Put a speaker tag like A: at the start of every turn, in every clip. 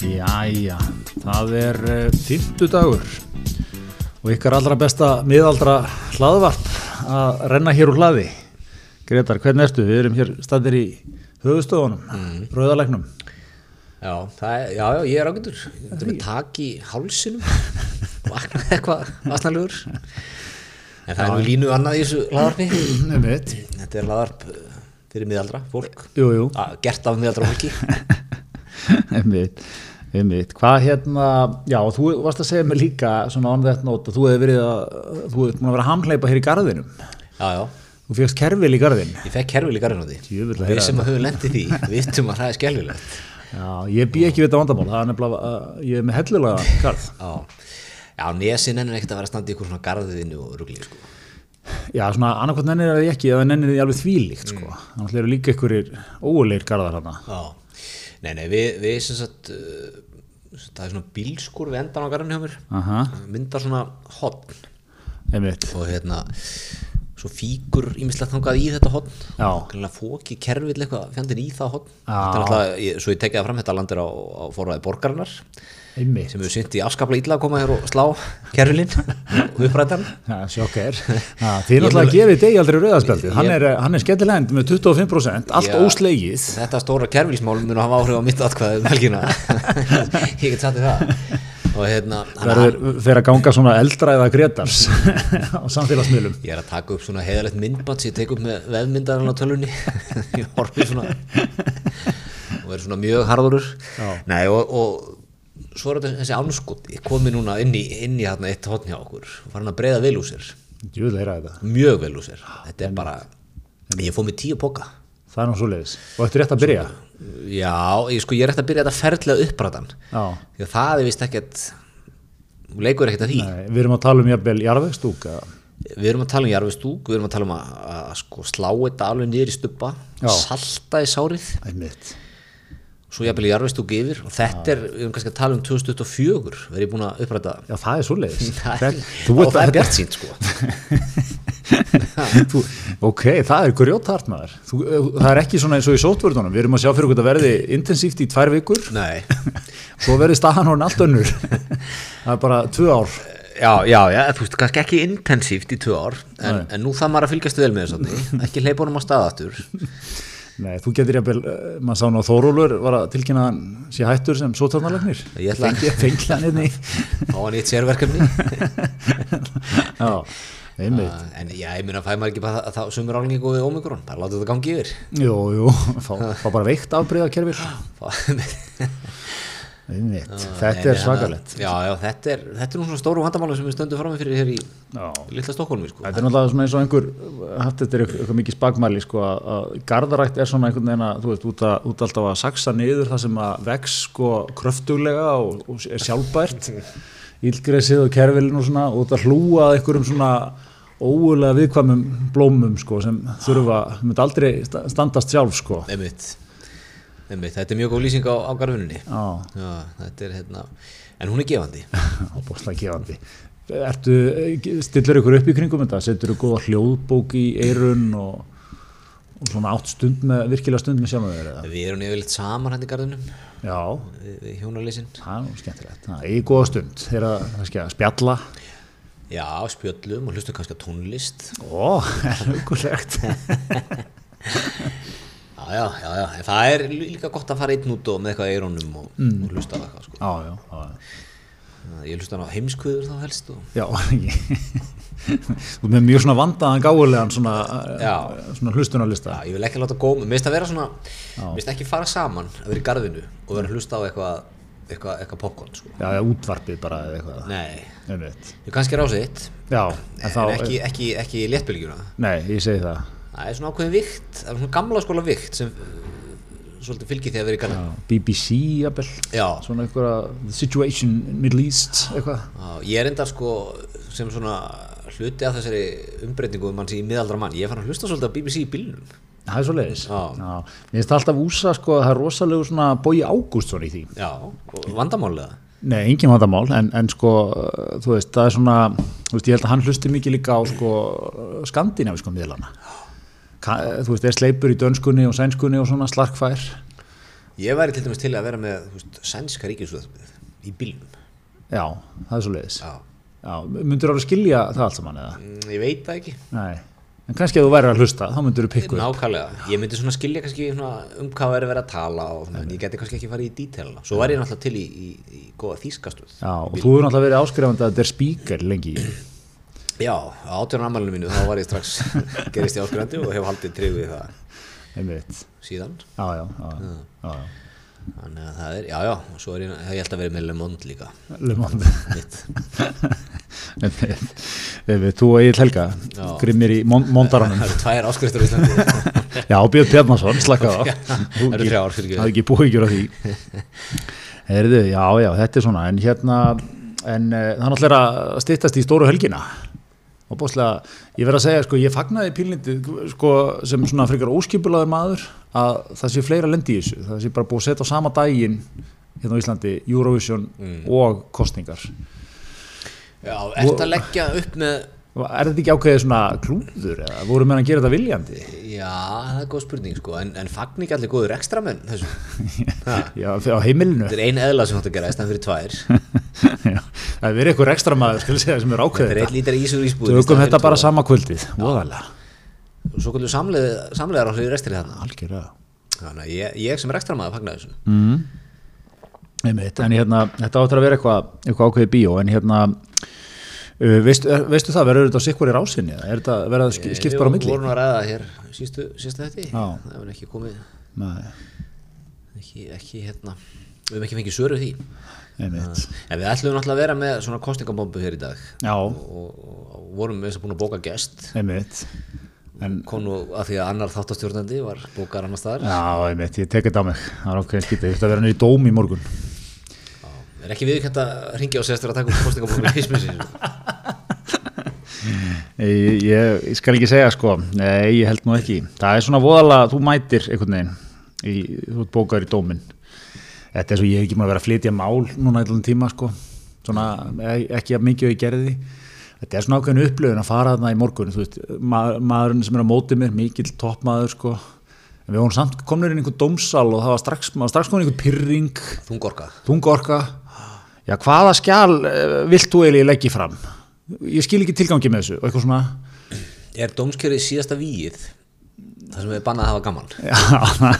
A: Æja, það er fyrtu dagur og ykkar allra besta miðaldra hlaðvarp að renna hér úr hlaði. Gretar, hvernig ertu? Við erum hér standir í höfustofunum, mm. rauðalegnum.
B: Já, það er, já, já, ég er ágættur. Ég er með tak í hálsinum, vakna eitthvað vasnalegur. En það er nú línu annað í þessu laðarpi.
A: Nefnum við.
B: Þetta er laðarp eh, fyrir miðaldra fólk,
A: Jú, jú,
B: A, gert af miðaldra fólki.
A: nefnum við. Hvað hérna, já, og þú varst að segja mér líka svona án þetta nót að þú hefði verið að, þú hefði búin að vera að hamleipa hér í garðinum.
B: Já, já,
A: Þú fegst kerfil í garðin.
B: ég fekk kerfil í garðin á því.
A: Djöfull að heyra
B: Við sem að höfum lendið því, vitum að það er skelvilegt.
A: Já, ég bý ekki við þetta vandamál, það er nefnilega, uh, ég er með hellulega garð.
B: Já, já, nesin ennur ekkert að vera að standa í ykkur svona garðinu og rugli, sko.
A: Já, svona annarkvæmt nennir það því ekki eða nennir því alveg þvílíkt, sko.
B: Mm.
A: Þannig eru líka einhverjir óulegir garðar hana.
B: Já, nei, nei, við, við sem sagt, uh, það er svona bílskur við endan á garðinu hjá mér,
A: Aha,
B: myndar svona hotn
A: einmitt.
B: og hérna, svo fíkur ímislegt þangað í þetta hotn,
A: Já.
B: kannilega fóki kerfill eitthvað, fjandinn í það hotn,
A: Já.
B: þetta er alltaf, ég, svo ég tekið það fram, þetta landir á, á forræði borgarinnar,
A: Einmitt.
B: sem hefur synt í afskaplega illa að koma hér og slá kerfillinn og upprættan.
A: Já, sjokk er. Já, þið er náttúrulega gefið degi aldrei rauðarspjaldið. Hann er, eh, hann er skemmtilegend með 25%, allt
B: Já.
A: óslegið.
B: Þetta stóra kerfilsmál mun að hafa áhrif á mitt atkvæði um helgina, ég get satt í það. Og hérna, þannig að-
A: Verður fyrir að ganga svona eldræða gretars á samfélagsmiðlum.
B: Ég er að taka upp svona heiðalegt myndband sem ég tek upp með veðmyndarinn á tölunni ég horfi svona og er svona mjög harðurur
A: Já.
B: Nei, og, og svo er þetta þessi ánskot ég komi núna inn í, inn í þarna eitt hotn hjá okkur og farin að breyða vel úr sér
A: Jú, það er að þetta.
B: mjög vel úr sér þetta er bara, ég fóð mér tíu poka
A: Það er nú svo leiðis. Og þetta er rétt að byrja.
B: Já, ég, sko, ég er eftir að byrja þetta ferðlega uppræðan
A: Já.
B: því að það er vist ekkert leikur ekkert að því
A: Nei, við erum að tala um jafnvel jarðvegstúk. eða-
B: Við erum að tala um jarfistúk, við erum að tala um að, að sko, slá þetta alveg niður í stubba,
A: Já.
B: salta í sárið,
A: Einmitt.
B: svo jafnvel jarfistúk yfir og þetta er, við erum kannski að tala um 2024, verður ég búin að uppræta það.
A: Já, það er svo leiðis.
B: Það er, og það er bjart sínt sko.
A: þú, ok, það er grjóthart maður þú, eh, það er ekki svona eins og í sótvörðunum við erum að sjá fyrir okkur að verði intensíft í tvær vikur
B: Nei,
A: svo verði staðan hún allt önnur það er bara tvö ár
B: já, já, já, þú veist, kannski ekki intensíft í tvö ár, en, en nú það maður að fylgjast vel með þess að ekki hleypa honum að staða aftur.
A: Nei, þú getur jafnvel, eh, maður sá nú að Þórólur var að tilkynna að hann sé hættur sem sótvörðanlegnir
B: Ég ætla að
A: fengla hann inn í
B: fá hann í eitt sérverkefni.
A: já, einmitt
B: En já, ég mun að fæ maður ekki bara það, það sumur álningu við ómikrón, bara láta þetta gangi yfir.
A: jú, jú, fá, fá bara veikt afbreyðakerfi
B: Fá-
A: einmitt,
B: Nei,
A: þetta er
B: nei,
A: svakalett
B: annað- Já, já, þetta er, þetta er nú svona stóru vandamála sem við stöndum fram fyrir hér í
A: já
B: litla Stokkólmi, sko.
A: Þetta er náttúrulega svona eins og einhver eh, haft þetta er eitthvað mikið spagmæli sko, að- að gardarætt er svona einhvern veginn að þú veist, út, að, út alltaf að saksa niður það sem að vex sko kröftuglega og, og er sjálfbært ílgresið og kerfilin og svona og þetta hlúa að einhverjum svona óulega viðkvæmum blómum sko sem þurfa, þau myndi aldrei sta- standast sjálf sko
B: Einmitt. Einmitt, þetta er mjög góð lýsing á, á garfinunni.
A: Já,
B: Já, þetta er hérna, en hún er gefandi.
A: ábúrslega gefandi Ertu, stillur ykkur upp í kringum þetta, setur ykkur góða hljóðbók í eirun og, og svona átt stund með, virkilega stund með sjálfum þeir eða?
B: Við erum yfirleitt saman hann í garfinum,
A: Já,
B: við, við hjónalýsin.
A: það er nú skemmtilegt. Það er í góða stund þegar að, kannski að spjalla.
B: Já, spjöllum og hlustum kannski á tónlist.
A: Ó, hugulegt.
B: Já, já, já, já, en það er lí- líka gott að fara einn út og með eitthvað í eirónum og,
A: Mm.
B: og hlusta á eitthvað, sko.
A: Já, já, já, já.
B: Ég hlusta hann á heimskvöður þá helst og...
A: Já, ég- þú ert með mjög svona vandaðan gáðulegan svona,
B: Já.
A: svona hlustunarlista.
B: Já, ég vil ekki láta góma, mér finnst að vera svona, mér finnst ekki fara saman að vera í garðinu og vera að hlusta á eitthvað, eitthvað, eitthvað popcorn, sko.
A: Já, já, útvarpið bara eða eitthvað.
B: Nei,
A: Einmitt.
B: ég kannski rási eitt,
A: Já,
B: en,
A: en þá,
B: ekki, ekki, ekki í léttbylgjuna.
A: nei, ég segi það.
B: Það er svona ákveðin vikt, það er svona gamla skóla vikt sem uh, svolítið fylgir því að vera í
A: Já,
B: garðinu.
A: BBC, jafnvel,
B: Já,
A: svona eitthvað, The Situation in Middle East, eitthvað.
B: Já, ég er endar sko sem svona hluti af þessari umbreytingu um hans í miðaldra mann, ég er fann að hlusta svolítið á BBC í bílnum.
A: Það er svo leiðis.
B: Já.
A: Mér finnst alltaf úsa, sko, að það er rosalegu svona bói Ágústsson í því.
B: Já, og vandamálega.
A: Nei, engin vandamál, en, en sko, uh, þú veist, það er svona, þú veist, ég held að hann hlusti mikið líka á sko skandinavískum miðlana. Ka, þú veist, er sleipur í dönskunni og sænskunni og svona slarkfær.
B: Ég væri til dæmis til að vera með þú veist, sænska ríkisúðarpið í bílnum.
A: já, það er svo leiðis
B: Já.
A: já, myndur alveg skilja það allt saman eða?
B: Mm, Ég veit það ekki.
A: Nei, en kannski að þú væri að hlusta þá myndur þú pikku upp.
B: Nákvæmlega. Ég myndi svona skilja kannski svona um hvað er verið að tala og svona, en ég geti kannski ekki farið í dítelina. Svo væri ég náttúrulega til í, í, í góða þýskastuð.
A: já, og þú hefur náttúrulega verið áskrifandi að þetta er spíker lengi í.
B: Já, á átjónarmælinu mínu þá var ég strax gerist ég áskrandi og hef haldið tryggð við það
A: einmitt
B: síðan.
A: já, já, já, já, já, já.
B: Þannig að það er, já, já, og svo er ég, ég held að vera með Le Monde líka.
A: Le Monde Einmitt. Einmitt, Þú og Egil Helga grimmir í mon mondaranum
B: Það eru tvær áskriftur í Íslandi.
A: Já, Björn Bjarnason, slaka á
B: Já, það eru þrjár, fyrirgefðu.
A: Það er ekki búið ekki á því Heyrðu, já, já, þetta er svona en hérna, en uh, það er náttúrulega að styttast í stóru helgina og bóðslega, ég verð að segja, sko, ég fagnaði pílindi, sko, sem svona frekar óskipulaður maður, að það sé fleira lendi í þessu, það sé bara búið að setja á sama daginn hérna á Íslandi, Eurovision
B: Mm.
A: og kostningar
B: Já, ert að leggja upp með
A: Er þetta ekki ákveðið svona klúður eða voru menn að gera þetta viljandi?
B: Já, það er góð spurning sko, en, en fagn ekki allir góður ekstra menn þessu. Ha.
A: Já, á heimilinu?
B: Þetta er ein eðla sem þú átt að gera, í staðan fyrir tvær.
A: Já, það er eitthvað ekstra maður skal ég segja sem er
B: Þetta
A: ákveðið
B: er einn
A: þetta.
B: lítar ísur ísbúð.
A: Tökum þetta bara sama kvöldið, voðalega,
B: Svo kvöldu samlegar á hljóði restir þarna.
A: algjörlega.
B: Þannig að ég, ég sem er ekstra maður fagnaði þessu.
A: Mm, Einmitt, en hérna, þetta áttur að vera eitthvað, eitthvað ákveðið bíó, en hérna, uh, veistu, er, veistu það, verður þetta sikkur í rásinni, eða er þetta verða sk skipt bara á
B: Við
A: milli?
B: vorum að ræða hér sístu, sístu þetta.
A: Já.
B: Það hefur ekki komið,
A: Nei,
B: ekki, ekki hérna, við hefum ekki fengið svöru því.
A: einmitt,
B: En við ætlum náttúrulega að vera með svona kostningabombu hér í dag.
A: já,
B: Og, og, og vorum með þess að búin að bóka gest.
A: einmitt, en,
B: Kom nú að því að annar þáttastjórnandi var bókar annar staðar.
A: já, einmitt, ég tek þetta á mig, það er ákveðið skiptið, ég ætti að vera nýri dóm í morgun.
B: Það er ekki viðkvæmt að ringja á sestur að taka upp kostningabókum í fyrstmjössin.
A: Ég, ég, ég skal ekki segja sko, nei, ég held nú ekki. Það er svona voðalega, þú mætir einhvern veginn, í, þú ert bókaður í dóminn. Þetta er svo, ég hef ekki maður að vera að flytja mál núna eitthvað tíma sko, svona e- ekki að mikið og ég gerði því. Þetta er svona ákveðin upplöfun að fara þarna í morgun, þú veist, maður, maðurinn sem er á móti mér, mikill toppmaður sko. En við vorum samt komnir inn í einhvern dómsal og það var strax, maður var strax komin í einhvern pyrring
B: Þungorka.
A: þungorka já, hvaða skjál eh, vilt þú eiginlega leggja fram ég skil ekki tilgangi með þessu og eitthvað svona
B: Er dómskjörið síðasta víið það sem við bannað að hafa gaman?
A: já,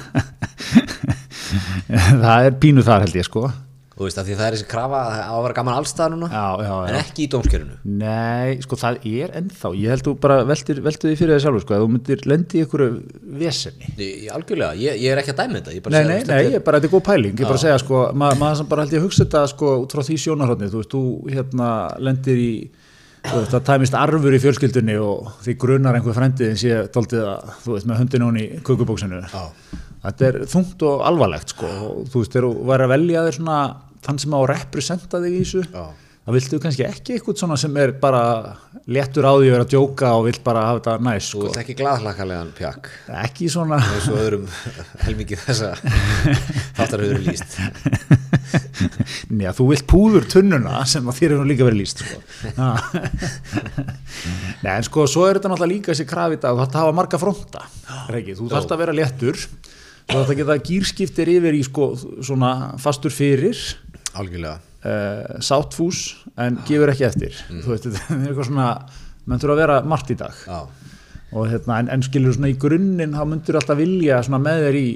A: það er pínu þar held ég sko já,
B: Þú veist að því það er þessi krafa að það á að vera gaman allstaðar núna
A: já,
B: en
A: já
B: ekki í dómskjörinu.
A: nei, sko það er ennþá ég held þú bara veltir, veltir því fyrir þér sjálfur sko að þú myndir lendi í einhverju vesenni
B: Ég, ég, algjörlega, ég, ég er ekki að dæmi þetta. Ég bara
A: Nei,
B: segi-
A: nei, nei, ég er bara, þetta er góð pæling, ég er bara að segja sko, ma maður sem bara held ég að hugsa þetta sko út frá því sjónarhóttni, þú veist, þú hérna lendir í, þú veist, það tæmist arfur í fjölskyldunni og því grunar einhver frendiðin sé daldið að, þú veist, með höndin hún í kukubóksinu.
B: Já.
A: Þetta er þungt og alvarlegt sko, og, þú veist, þegar þú væri að velja þér svona þann sem á að representa þig í þessu,
B: Já.
A: það viltu kannski ekki eitthvað svona sem er bara léttur á því að vera að djóka og vill bara hafa þetta næs
B: Þú
A: sko.
B: ert ekki glaðhlakkalegan pjakk
A: Ekki svona...
B: eins og öðrum helmingi þessa þáttar höfður líst.
A: Njá, þú vilt púður tunnuna sem að þér hefur nú líka verið líst sko. Ha. Nei, en sko, svo er þetta náttúrulega líka þessi krafið að þú þarf að hafa marga fronta Regi, þú þarf að vera léttur þú þarf að geta gýrskiptir yfir í sko, svona fastur fyrir
B: Algjörlega.
A: uh, sáttfús en gefur ekki eftir þú veist, þetta er eitthvað svona menn þurfa að vera margt í dag
B: Já.
A: og hérna, en, en skilur svona í grunninn þá myndur alltaf vilja svona með þér í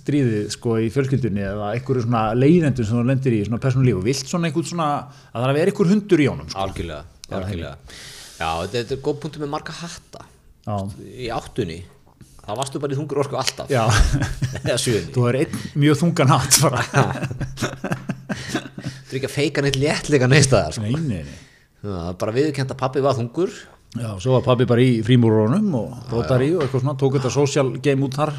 A: stríðið sko í fjölskyldunni eða einhverju svona leiðendum sem þú lendir í svona persónulíf og vilt svona einhvern svona að það er að vera einhver hundur í honum sko.
B: Algjörlega. Algjörlega. Já, þetta, þetta er góð punktu með marga hatta.
A: Já,
B: Í áttunni, þá varstu bara í þungur orku alltaf.
A: já.
B: Eða sjöunni.
A: þú er einn mjög þungan hatt bara
B: Þú er ekki að feika neitt léttleika neist að það sko.
A: Nei, nei, nei.
B: Það er bara viðurkend að pappi var þungur
A: Já, svo var pabbi bara í frímúrónum og brotar í og eitthvað svona, tók þetta social game út þar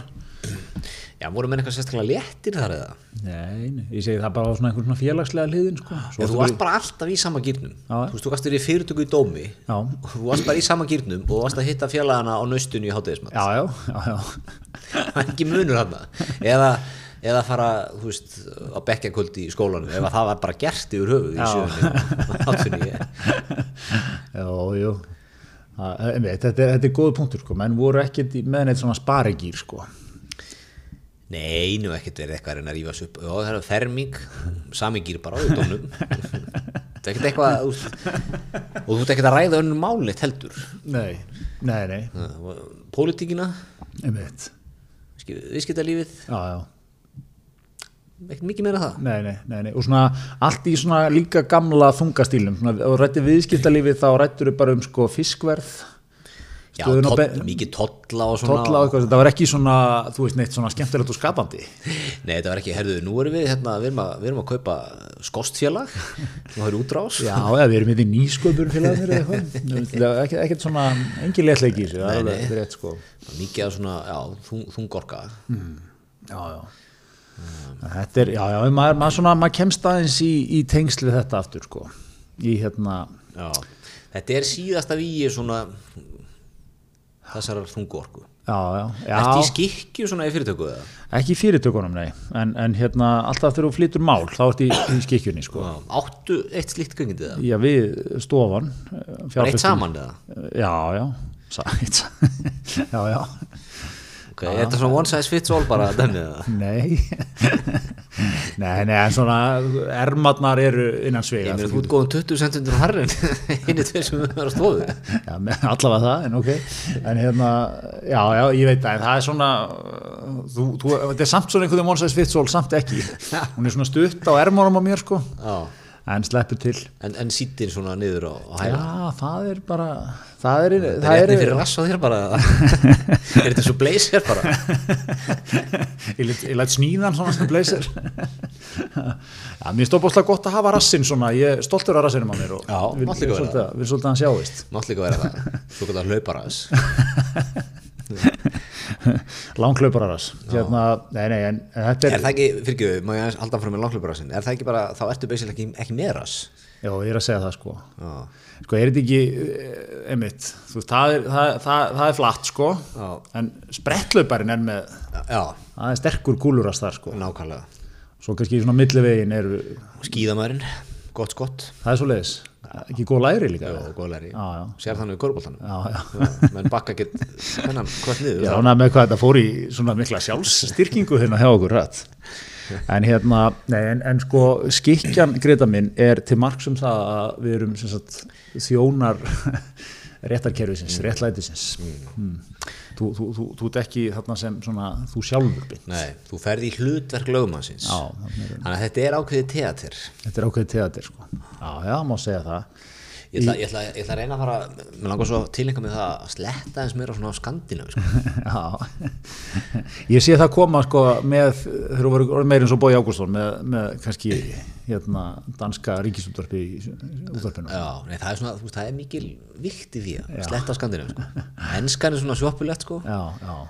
B: Já, voru menn eitthvað sérstaklega léttir þar eða?
A: Nei, nei, ég segi það bara á svona einhver svona félagslega hliðin sko.
B: Já,
A: Svo
B: þú varst bara alltaf í sama gírnum
A: Já.
B: Þú veist, þú gast verið í fyrirtöku í dómi
A: Já.
B: og þú varst bara í sama gírnum og varst að hitta félagana á naustunni í hátegismat
A: Já, já, já, já
B: Það er ekki munur þarna eða, eða fara, þú veist, á bekkjakvöldi í skólanum ef að það var bara gert yfir höfuð í sjöunni og áttunni
A: Jó, jú. Það- eh, einmitt, Þetta er, þetta er góð punktur sko, menn voru ekkert í- með neitt svona sparigýr sko.
B: Nei, nú ekkert er eitthvað að reyna að rífa sig upp Jó, það er ferming, sami gýr bara á í dónum Það er ekkert eitthvað úst, og þú ert ekkert að ræða önnur málit heldur
A: Nei, nei, nei,
B: Pólitíkina,
A: einmitt
B: viðskiptalífið
A: Já, já,
B: ekkert mikið meira en það
A: nei, nei, nei, nei Og svona allt í svona líka gamla þungastílum svona, og rættir viðskiptalífi þá rættur þau bara um sko fiskverð
B: Já,
A: Stöðun á
B: toll,
A: be-
B: mikið tolla og svona
A: tolla og eitthvað, það var ekki svona þú veist neitt svona skemmtilegt og skapandi
B: Nei, þetta var ekki, herðu, nú erum við hérna, við erum að, við erum að kaupa skostfélag og það er útrás
A: Já, eða við erum yfir nýsköpur félagarnir eða eitthvað Nú, það er ekkert- ekkert svona, engin léttleiki í þessu, það er alveg rétt sko
B: mikið af svona, já, þung, þungorka
A: Mm. Já, já Þetta er, já, já, maður, maður svona maður kemst aðeins í, í tengsl við þetta aftur sko í hérna
B: Já, þetta er síðasta víi svona þessarar þungorku
A: Já, já, já,
B: Ertu í skikju svona í fyrirtöku eða?
A: ekki í fyrirtökunum, nei, en, en hérna alltaf þegar þú flytur mál, þá ert í, í skikjunni, sko.
B: Já, Áttu eitt slíkt göngindi það?
A: Já, við stofan,
B: Bara
A: fjárfestum.
B: eitt saman eða?
A: Já, já, sa, eitt saman, já, já,
B: Okay, er þetta svona one size fits all bara dæmið það?
A: nei, nei, nei, en svona ermarnar eru innan
B: Ég
A: svega,
B: meina
A: þú-
B: þú ert góðum 20 cm harri en einu tveir sem við verðum að stofu
A: Já, með- allavega það, en ok en hérna, já, já, ég veit það en það er svona þú, þú, þetta er samt svona einhvern veginn Mónsæðis Vitsól, samt ekki hún er svona stutt á ermónum á mér sko,
B: Já,
A: en sleppur til
B: en, en sýttin svona niður á, á hæla
A: já, það er bara það er,
B: Það er
A: það
B: réttin
A: er
B: fyrir rass á þér bara Er þetta svo blazer bara?
A: ég læt- ég læt sníðan svona sem blazer já, mér er stóðbóðslega gott að hafa rassinn svona, ég er stoltur af rassinum á mér og
B: Já,
A: vil,
B: mátti
A: vil,
B: ekki vera
A: svolítið, vil svolítið að hann sjáist
B: Mátt líka vera það, svo kallar hlauparass
A: langklaupararass hérna, nei, nei, en en þetta
B: Er
A: er,
B: það ekki, fyrir ekki, má ég aðeins halda frá með langhlauparassin Er það ekki bara, þá ertu beisil ekki, ekki með rass
A: já, ég er að segja það sko
B: Já,
A: Sko er þetta ekki, eh, einmitt, þú veist, það er, það, það, það er flatt sko,
B: Já.
A: en sprettlauparinn er með,
B: já
A: það er sterkur gúlurast þar sko.
B: nákvæmlega
A: Svo kannski svona millivegin eru,
B: Skíðamærin, gott skott
A: það er svo leiðis, ekki góð læri líka.
B: og góðlæri
A: Já, já.
B: Sér þannig við korfbóltanum
A: Já, já.
B: menn bakka get hennan hvort
A: Ég
B: niður
A: er ánægð með hvað þetta fór í svona mikla sjálfsstyrkingu hérna hjá okkur rætt. En hérna, nei, en, en sko skikjan, Greta minn, er til mark um það að við erum sem sagt, þjónar réttarkerfisins, réttlætisins. Mm. Þú, þú, þú, þú ert ekki þarna sem svona, þú sjálfur beint.
B: Nei, þú ferði í hlutverk lögumannsins
A: Já, þarna er-
B: þannig að þetta er ákveðið teater
A: þetta er ákveðið teatir sko. Já, já, má segja það.
B: ég ætla, ég, ætla, ég ætla að reyna að fara mér langar svo tilenga með það að sletta eins meira svona á skandinavi sko.
A: Já, ég sé það koma sko með, þegar þú voru meira eins og Bói Ágústsson með, með kannski hérna danska ríkisútvarpi í útvarpinu.
B: Já, nei, það er svona, þú veist, það er mikil vikt í því að sletta á skandinavi sko. Enskan er svona sjoppulegt sko.
A: Já, já,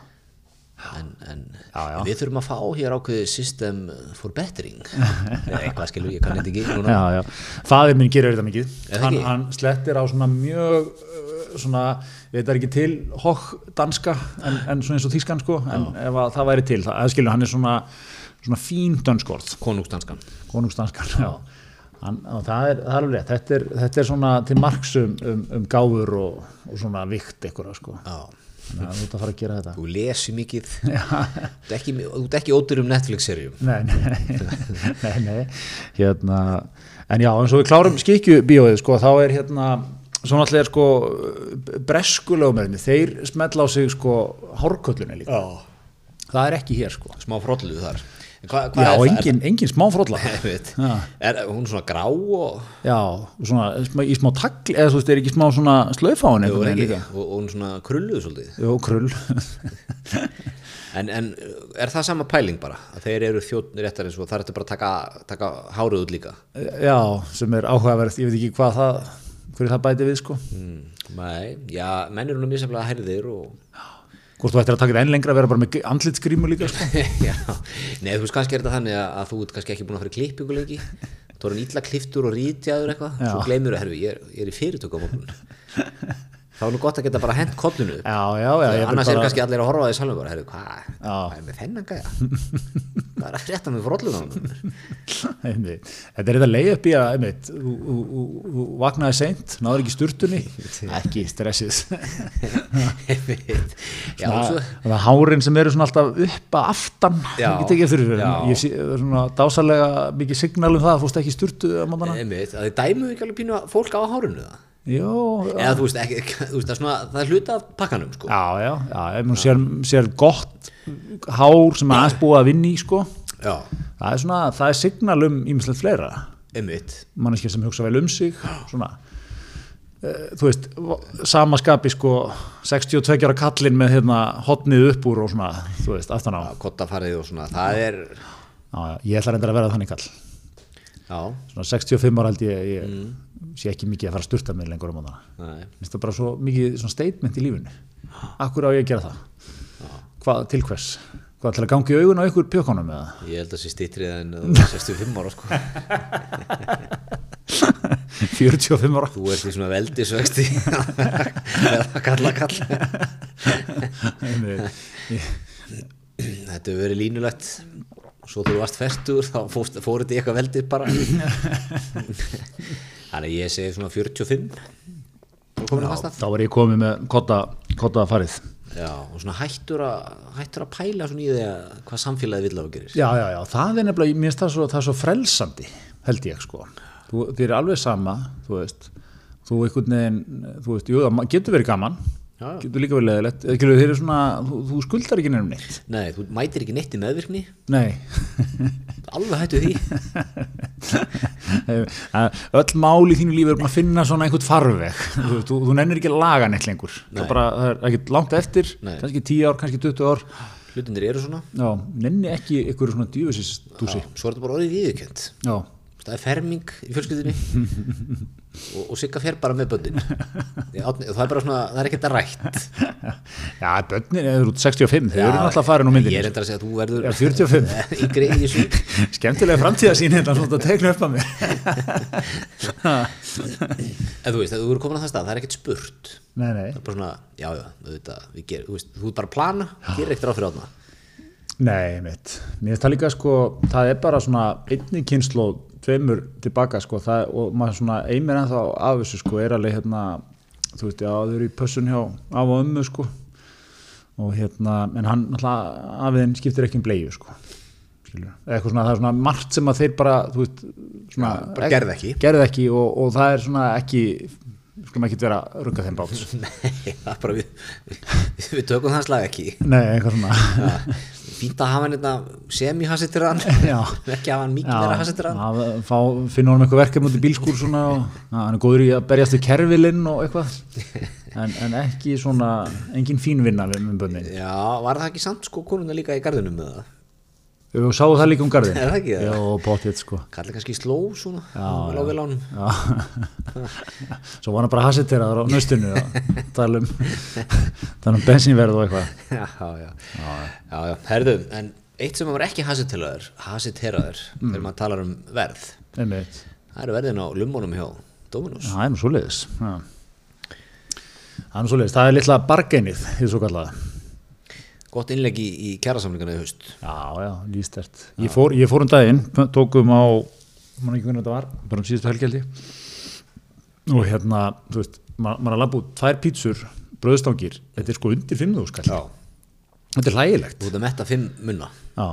B: en, en
A: Já, já.
B: við þurfum að fá hér ákveðið system for bettering eða eitthvað skilur, ég kann þetta ekki núna
A: já, já. Fadir minn gerir þetta mikið.
B: Er það
A: Hann,
B: ekki?
A: hann slettir á svona mjög, uh, svona, ég veit það er ekki til hokk danska en, en svona eins og þýskan sko, en ef að það væri til, það skilur, hann er svona, svona fín dönskorð,
B: konungsdanskan
A: konungsdanskan, já. Hann, og það er, það er alveg rétt, þetta er, þetta er svona til margsum um, um gáfur og, og svona vikt eitthvað sko.
B: Já.
A: Þannig að þú ert að fara að gera þetta.
B: þú lesi mikið þú ert ekki, þú ert ekki ódur um Netflix-serjum
A: Nei, nei, nei, nei. Hérna, en já, eins og við klárum skikjubíóið, sko, þá er hérna, svona allir sko, breskulögumöðinni, þeir smetla á sig, sko, hárköllunni líka. Það er ekki hér, sko.
B: smá frollu þar En hva, hva
A: Já,
B: er það?
A: engin, engin smá frólla.
B: er, það- einmitt.
A: Já.
B: er hún svona grá og,
A: Já, og svona, smá- í smá tagli, eða þú veist, er ekki smá svona slöfáin
B: og,
A: einhvern veginn
B: ekki,
A: líka.
B: og, og hún svona krulluð svolítið
A: Jó, krull.
B: en, en uh, er það sama pæling bara að þeir eru þjóttnir réttar eins og þar ertu bara að taka, taka hárið út líka
A: já, sem er áhugaverð, ég veit ekki hvað það, hverju það bæti við, sko.
B: mm. Nei, já, menn eru nú misjaflega herðir og
A: Hvort þú ættir að taka þetta enn lengra að vera bara með andlitsgrímu líka, sko.
B: já, nei, þú veist kannski er þetta þannig að, að þú ert kannski ekki búin að fara í klippingu lengi þú erum illa kliftur og rítjaður eitthvað svo
A: Já.
B: gleymur að herfi, ég, er- ég er í fyrirtöku á morgun þá er nú gott að geta bara hent kollinu upp.
A: Já, já, já, ég vil
B: annars er
A: bara-
B: kannski allir að horfa á því salum bara, heyrðu, hvað,
A: Já.
B: hvað er með þennan gæja hvað er að frétta með fróllunum
A: Einmitt. Þetta er þetta leið upp í að einmitt, þú- þú- þú- þú vaknaði seint, náður ekki sturtunni ekki stressið
B: já, og svo,
A: það það er hárin sem eru svona alltaf upp að aftan
B: Já.
A: ekki tekið fyrir
B: Já.
A: ég sé það er svona dásalega mikið signal um það að fórst ekki í sturtu að mátana
B: einmitt, að þið dæmu ekki alveg pínu að fólk á hárinu það
A: Jó, já,
B: eða þú veist, ekki, þú veist það, er svona, það er hluta af pakkanum sko.
A: já, já, ef hún sér, sér gott hár sem er aðeins búið að vinni í sko
B: já,
A: það er svona, það er signal um ímislegt fleira
B: einmitt
A: manneskja sem hugsa vel um sig svona Eh, þú veist, sama skapi sko 62 ára kallinn með hérna hotnið upp úr og svona, þú veist, aftan á já,
B: að kottafarið og svona, það er
A: já, ég ætla reyndar að vera þannig kall
B: já,
A: svona 65 ára held ég, ég sé ekki mikið að fara að sturta mig lengur á mótana
B: nei,
A: finnst það bara svo mikið svona statement í lífinu akkur á ég að gera það hvað, til hvers, hvað ætlar að gangi augun á ykkur pjökkunum eða
B: ég held að sé stýtrið en þú ert 65 ára sko.
A: 45 ára
B: þú ert í svona veldisvexti að kalla kalla Þetta hefur verið línulegt Svo þú varst færtur þá fórst- fór þetta í eitthvað veldið bara Þannig að ég segi svona 45 Þú komin að fasta
A: þá var ég komið með kotta, kotta farið
B: Já, og svona hættur að, hættur að pæla svona í því að hvað samfélagið vill að þú gerir
A: Já, já, já, það er nefnilega, mér finnst það svo, það er svo frelsandi, held ég, sko. Þú, þið er alveg sama, þú veist, þú einhvern veginn, þú veist, jú, það ma- getur verið gaman,
B: Já, já.
A: getur líka verið leðilegt, eða skilur þið er svona, þú, þú skuldar ekki nefnum neitt.
B: Nei, þú mætir ekki neitt í meðvirkni
A: Nei,
B: Alveg hættu því
A: öll mál í þínu lífi er bara að finna svona einhvern farveg, þú, veist, þú, þú nennir ekki að laga neitt lengur, það,
B: Nei.
A: er bara, það er ekki langt eftir,
B: Nei.
A: kannski 10 ár, kannski 20 ár,
B: Hlutindir eru svona
A: já, nenni ekki einhverju svona
B: Já,
A: djúfisistúsi,
B: Svo er þetta bara orðið viðurkjönd
A: já,
B: Það er ferming í fjölskyldinni og, og Sigga fer bara með böndin Það er bara svona, það er ekkert að rætt
A: já, börnin, eða þú eru út 65, þau
B: Já,
A: eru náttúrulega farin úr myndinni. sko.
B: Ég er endur að segja að þú verður
A: Já, 45.
B: yngri í þessu
A: Skemmtilega framtíðasín hérna svona að tegna upp að mér.
B: En þú veist, ef þú eru komin að það stað, það er ekkert spurt
A: Nei, nei.
B: Það er bara svona, já, já, auðvitað, við gerum Þú veist, þú er bara að plana, gerir ekkert ráð fyrir átna
A: Nei, mitt. Mér finnst það líka sko, það er bara svona einni kynslu tveimur tilbaka sko það, og maður svona einir en þá af þessu sko er alveg hérna, þú veist, já þau eru í pössun hjá af og ömmu sko og hérna, en hann náttúrulega afiðin skiptir ekki um bleiðu sko skilur, eitthvað svona, það er svona margt sem að þeir bara, þú veist, svona
B: Já, bara gerðu ekki.
A: gerðu ekki og, og það er svona ekki, skulum ekki vera að rugga þeim bát
B: Nei, það er bara við, við, við tökum það slag ekki
A: Nei, eitthvað svona
B: Fínt að hafa hann þetta sem í hassitir hann
A: Já.
B: Ekki hafa hann
A: Já,
B: mikið meira hassitir hann
A: að fá, finna honum eitthvað verkefni út í bílskúr svona og að hann er góður í að berjast við kerfilinn og eitthvað en, en ekki svona, engin fínvinna við með bönnin.
B: Já, var það ekki samt sko konuna líka í garðinum með það?
A: Við sáum það líka um garðin.
B: Er það ekki það?
A: Já, potið sko.
B: Kallir kannski sló svona, lág vel ánum
A: Já. Svo var hann bara hasiteraður á nöstinu og tala um, tala um bensinverð og eitthvað.
B: já, já, já, já, herðu en eitt sem var ekki hasiteraður hasiteraður,
A: Mm.
B: þegar maður talar um verð
A: Einmitt.
B: það eru verðin á lummunum hjá Dominus
A: Já, Það er nú svoleiðis. Já. Það er nú svoleiðis. Það er litla bargeinið, því svo kallaða.
B: gott innlegg í, í kjærasamlingana í haust
A: Já, já, lístert. Ég fór, ég fór um daginn, tókum á, mann ekki hvernig þetta var, bara um síðustu helgjaldi og hérna, þú veist, ma- maður er að labba út tvær pítsur, bröðstangir, þetta er sko undir 5.000 skall. Þetta er hlægilegt.
B: þú ert að metta fimm munna
A: Já,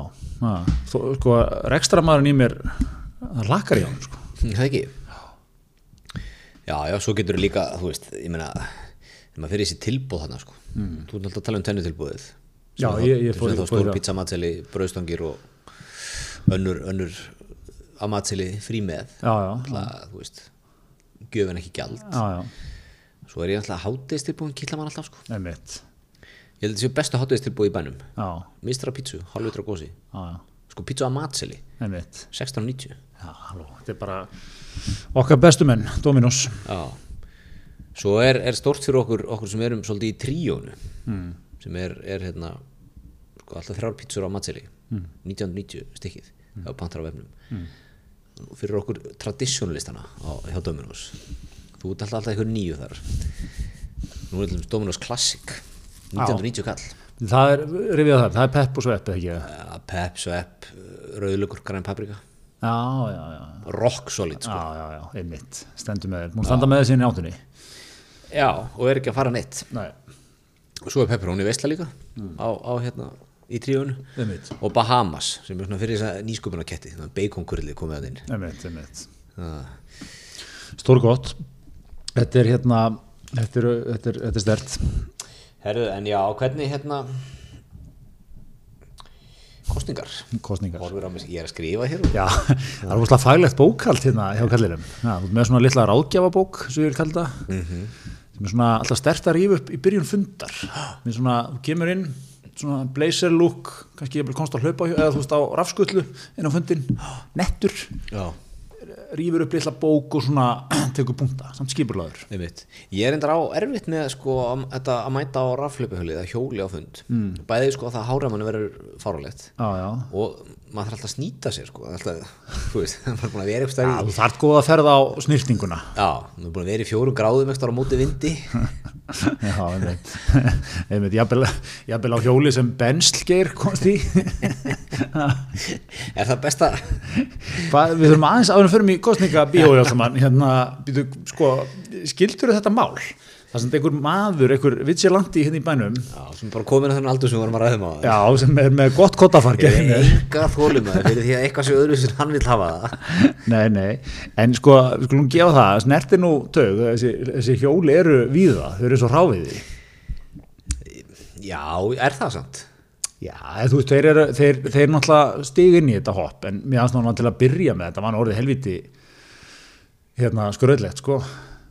A: já. Þó, sko, rekstramaðurinn í mér, það lakar í hann, sko.
B: það ekki já, já, svo getur líka, þú veist ég meina, þegar maður fyrir þessi tilbúð þarna sko, þú ert alltaf að tala um tennutilbúðið
A: Mm. Já, ég- ég fór-
B: fór þá
A: fór í
B: stór
A: það.
B: pizza matseli, brauðstangir og önnur, önnur að matseli frí með
A: Já, já,
B: alltaf, þú veist gjöfin ekki gjald
A: já, já,
B: svo er ég alltaf hátistilbúin kýtla mann alltaf sko
A: emitt,
B: ég held að þessi bestu hátistilbúi í bænum
A: já,
B: mistra pítsu, halvvitra gósi
A: já, já,
B: sko pítsu að matseli,
A: emitt.
B: 16.90
A: Já, halló, þetta er bara okkar bestu menn, Dominos.
B: já svo er, er stórt fyrir okkur, okkur sem erum svolítið í tríónu sem er, er hérna sko, alltaf þrjár pítsur á matseli 1990 stykkið mm. á pantar á vefnum Og fyrir okkur traditionalistana á, hjá Dominus þú ert alltaf alltaf eitthvað nýju þar nú er til dæmis Dominos Classic 1990 kall
A: það er, rifjað það, það er pepp og svepp eða ekki já,
B: Eh, Pep, Svepp, rauðlökur, græn paprika
A: já, já, já,
B: rock solid sko.
A: já, já, já einmitt, stendur með þér múin standa með þessi í náttunni
B: já, og er ekki að fara neitt
A: Nei,
B: og svo er pepperoni veistla líka á, á hérna í tríun
A: einmitt,
B: og Bahamas sem er svona fyrir þess að nýsköpunaketti baconkurli komið að inn Ah.
A: einmitt, einmitt
B: Það-
A: stórgott þetta er hérna þetta er, þetta er, þetta er stert
B: herru, en já, hvernig hérna kostningar
A: kostningar
B: Horfir á mig, ég er að skrifa hér
A: Já, það er rosalega faglegt bókald hérna hjá kallirum. Já, þú ert með svona litla ráðgjafabók sem ég vil kalla það, sem er svona alltaf stert að rífa upp í byrjun fundar. Mér svona, þú kemur inn, svona blazer look, kannski ég vil komst að hlaupa hjá, eða þú veist á rafskullu inn á fundin, nettur,
B: já,
A: rífur upp litla bók og svona tekur punkta, samt skipurlaður.
B: einmitt ég er endur á erfitt með sko að, þetta að mæta á raflöpuhulið að hjóli á fund mm. bæði sko að það hára manni verður fáralegt
A: Já, já.
B: og maður þarf alltaf að snýta sér sko alltaf, þú veist, maður er búin að vera eitthvað
A: Já, þú þart góða að ferða á snýrtinguna.
B: já, maður er búin að vera í fjórum gráðum eitthvað á móti vindi
A: Já, einmitt, einmitt, jafnvel, jafnvel á hjóli sem benslgeir komst í.
B: er það besta
A: Hva, við þurfum aðeins áður en förum í kostninga bíói alltaf mann, hérna, býtu, sko, skildur þetta mál? Það sem einhver maður, einhver vigilandi hérna í bænum,
B: já, sem bara komin að þannig aldur sem við vorum að um ræðum á það
A: já, sem er með gott hérna. kottafargi.
B: ég er enga þólum að fyrir því að eitthvað sé öðru sem hann vil hafa það
A: Nei, nei, en sko, við skulum gefa það, snerti nú tög, þessi, þessi hjóli eru víða, þau eru svo ráfiði.
B: já, er það samt
A: Já, eða þú veist, þeir, eru, þeir, þeir náttúrulega stigin í þetta hopp, en mér aðstæðan var til að byrja með þetta, var nú orðið helviti hérna skröðlegt, sko.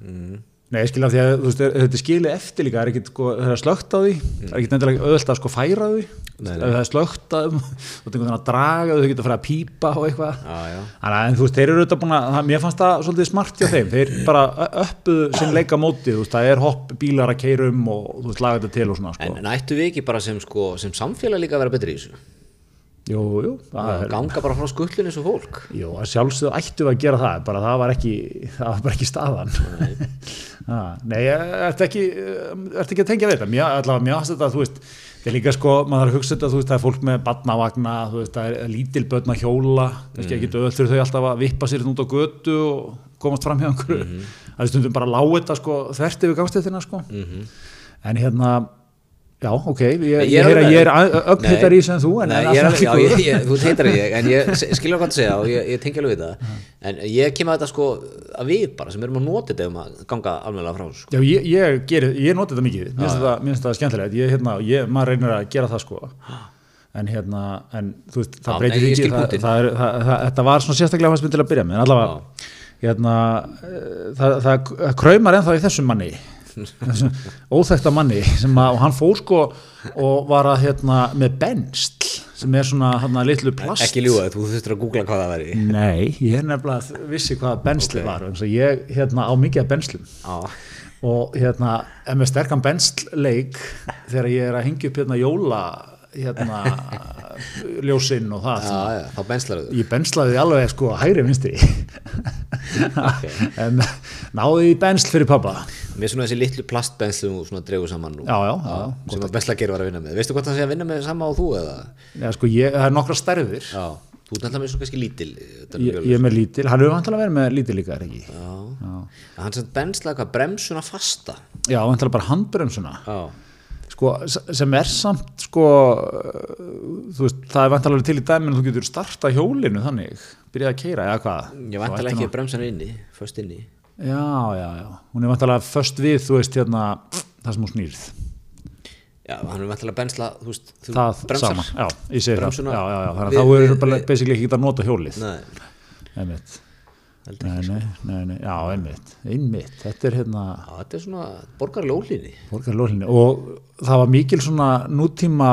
B: Mm.
A: Nei, ég skil af því að þú veist, er- þetta er skilið eftir líka, það er ekkit, sko, það er slögt á því, það er ekkit nefndilega öðvöld að sko færa því,
B: Mm. Nei, nei.
A: ef það er slögt á þeim, þú veist, einhvern veginn að draga, þau geta að fara að pípa og eitthvað.
B: já, já
A: Þannig að en þú veist, þeir eru auðvitað búin að, það- mér fannst það svolítið smart hjá þeim, þeir bara öppuðu sinn leika mótið, þú veist, það er hopp, bílar að keyra um og þú veist, laga þetta til og svona, sko.
B: En nættu við ekki bara sem, sko, sem samfélag líka að vera betri í þessu?
A: Jú, jú, það er
B: Ganga bara frá skullin eins og fólk?
A: Jú, að sjálfsögðu ættu við að gera það, bara það var ekki, það var bara ekki staðan. Ha, Nei, eh, ertu ekki, ertu ekki að tengja við þetta? Mér, allavega, mér aðstæða þetta, þú veist, það er líka sko, maður þarf að hugsa þetta, þú veist, það er fólk með badnavagna, þú veist, það er lítil börn að hjóla, kannski
B: Mm.
A: ekki döð fyrir þau alltaf að vippa sér hérna út á götu og komast fram hjá einhverju.
B: Mhm.
A: Það er stundum bara að lága þetta sko, þvert yfir gangstéttina sko.
B: Mhm.
A: En hérna, já, ok, ég, ég,
B: er
A: heyri að
B: alveg-
A: ég er ögn hittar
B: Nei.
A: í sem þú, en,
B: Nei,
A: en
B: ég er
A: alltaf
B: alveg-
A: ekki
B: já,
A: góður.
B: ég- ég- Þú heitar ég, en ég s- skilur hvað það segja og ég, ég tengi alveg við það En ég kem að þetta sko að við bara sem erum að nota þetta um að ganga alveg frá þessu, sko.
A: Já, ég, ég, geri, ég noti þetta mikið, mér finnst þetta- mér finnst þetta skemmtilegt, ég, hérna, ég, maður reynir að gera það sko, en hérna, en þú veist, það
B: Já,
A: breytir
B: nei, ég skil
A: það,
B: punktinn.
A: það, er- það, það, þetta var svona sérstaklega fannst mér til að byrja með, en allavega, hérna, eh, það, það, það kraumar ennþá í þessum manni, þessum óþekta manni, sem að, og hann fór sko og var að, hérna, með benstl, sem er svona, hérna, litlu plast.
B: Ekki ljúga, þú þurftur að googla hvað það væri
A: Nei, ég er nefnilega vissi hvaða benstli var, eins og ég, hérna, á mikið af benslum
B: Já,
A: og hérna, ef með sterkan benstleik þegar ég er að hengja upp hérna jóla hérna ljósinn og það
B: já, já, þá benslar þau
A: ég benslaði því alveg sko hægri vinstri en náði í bensl fyrir pappa
B: Mér svona þessi litlu plastbenslu og svona dregur saman nú
A: já, já, já.
B: sem að bensla gerir var að vinna með Veistu hvað það sé að vinna með sama á þú eða?
A: Eða, sko, ég, það er nokkra stærðir
B: Já, þú ert alltaf með svona kannski lítil eh, þetta er
A: ég, ég er með lítil, hann er vantilega að vera með lítil líka er ekki já,
B: Já. En hann sem bensla eitthvað bremsuna fasta
A: já vantilega bara handbremsuna
B: Já,
A: sko, s- sem er samt sko, uh, þú veist, það er vantilega til í dæmi en þú getur starta hjólinu þannig byrjað að keira eða hvað
B: ég
A: Þú ættir
B: vantilega
A: nú-
B: ekki að bremsa hann inni Föst inni
A: Já, já, já. Hún er vantalega först við, þú veist, hérna, það sem hún snýrð.
B: Já, hann er vantilega að bensla Þú veist, þú
A: Það
B: bremsar
A: saman, já, ég segi
B: Bremsuna-
A: það. Já, já, já, þannig
B: við-
A: að þá
B: við-
A: eru bara
B: við-
A: basically ekki að nota hjólið.
B: Nei,
A: Einmitt.
B: heldur sko.
A: Nei, nei, nei, nei, já, einmitt. Einmitt, þetta er hérna
B: Já, þetta er svona borgarlega ólíni
A: borgarlólinni og það var mikil svona nútíma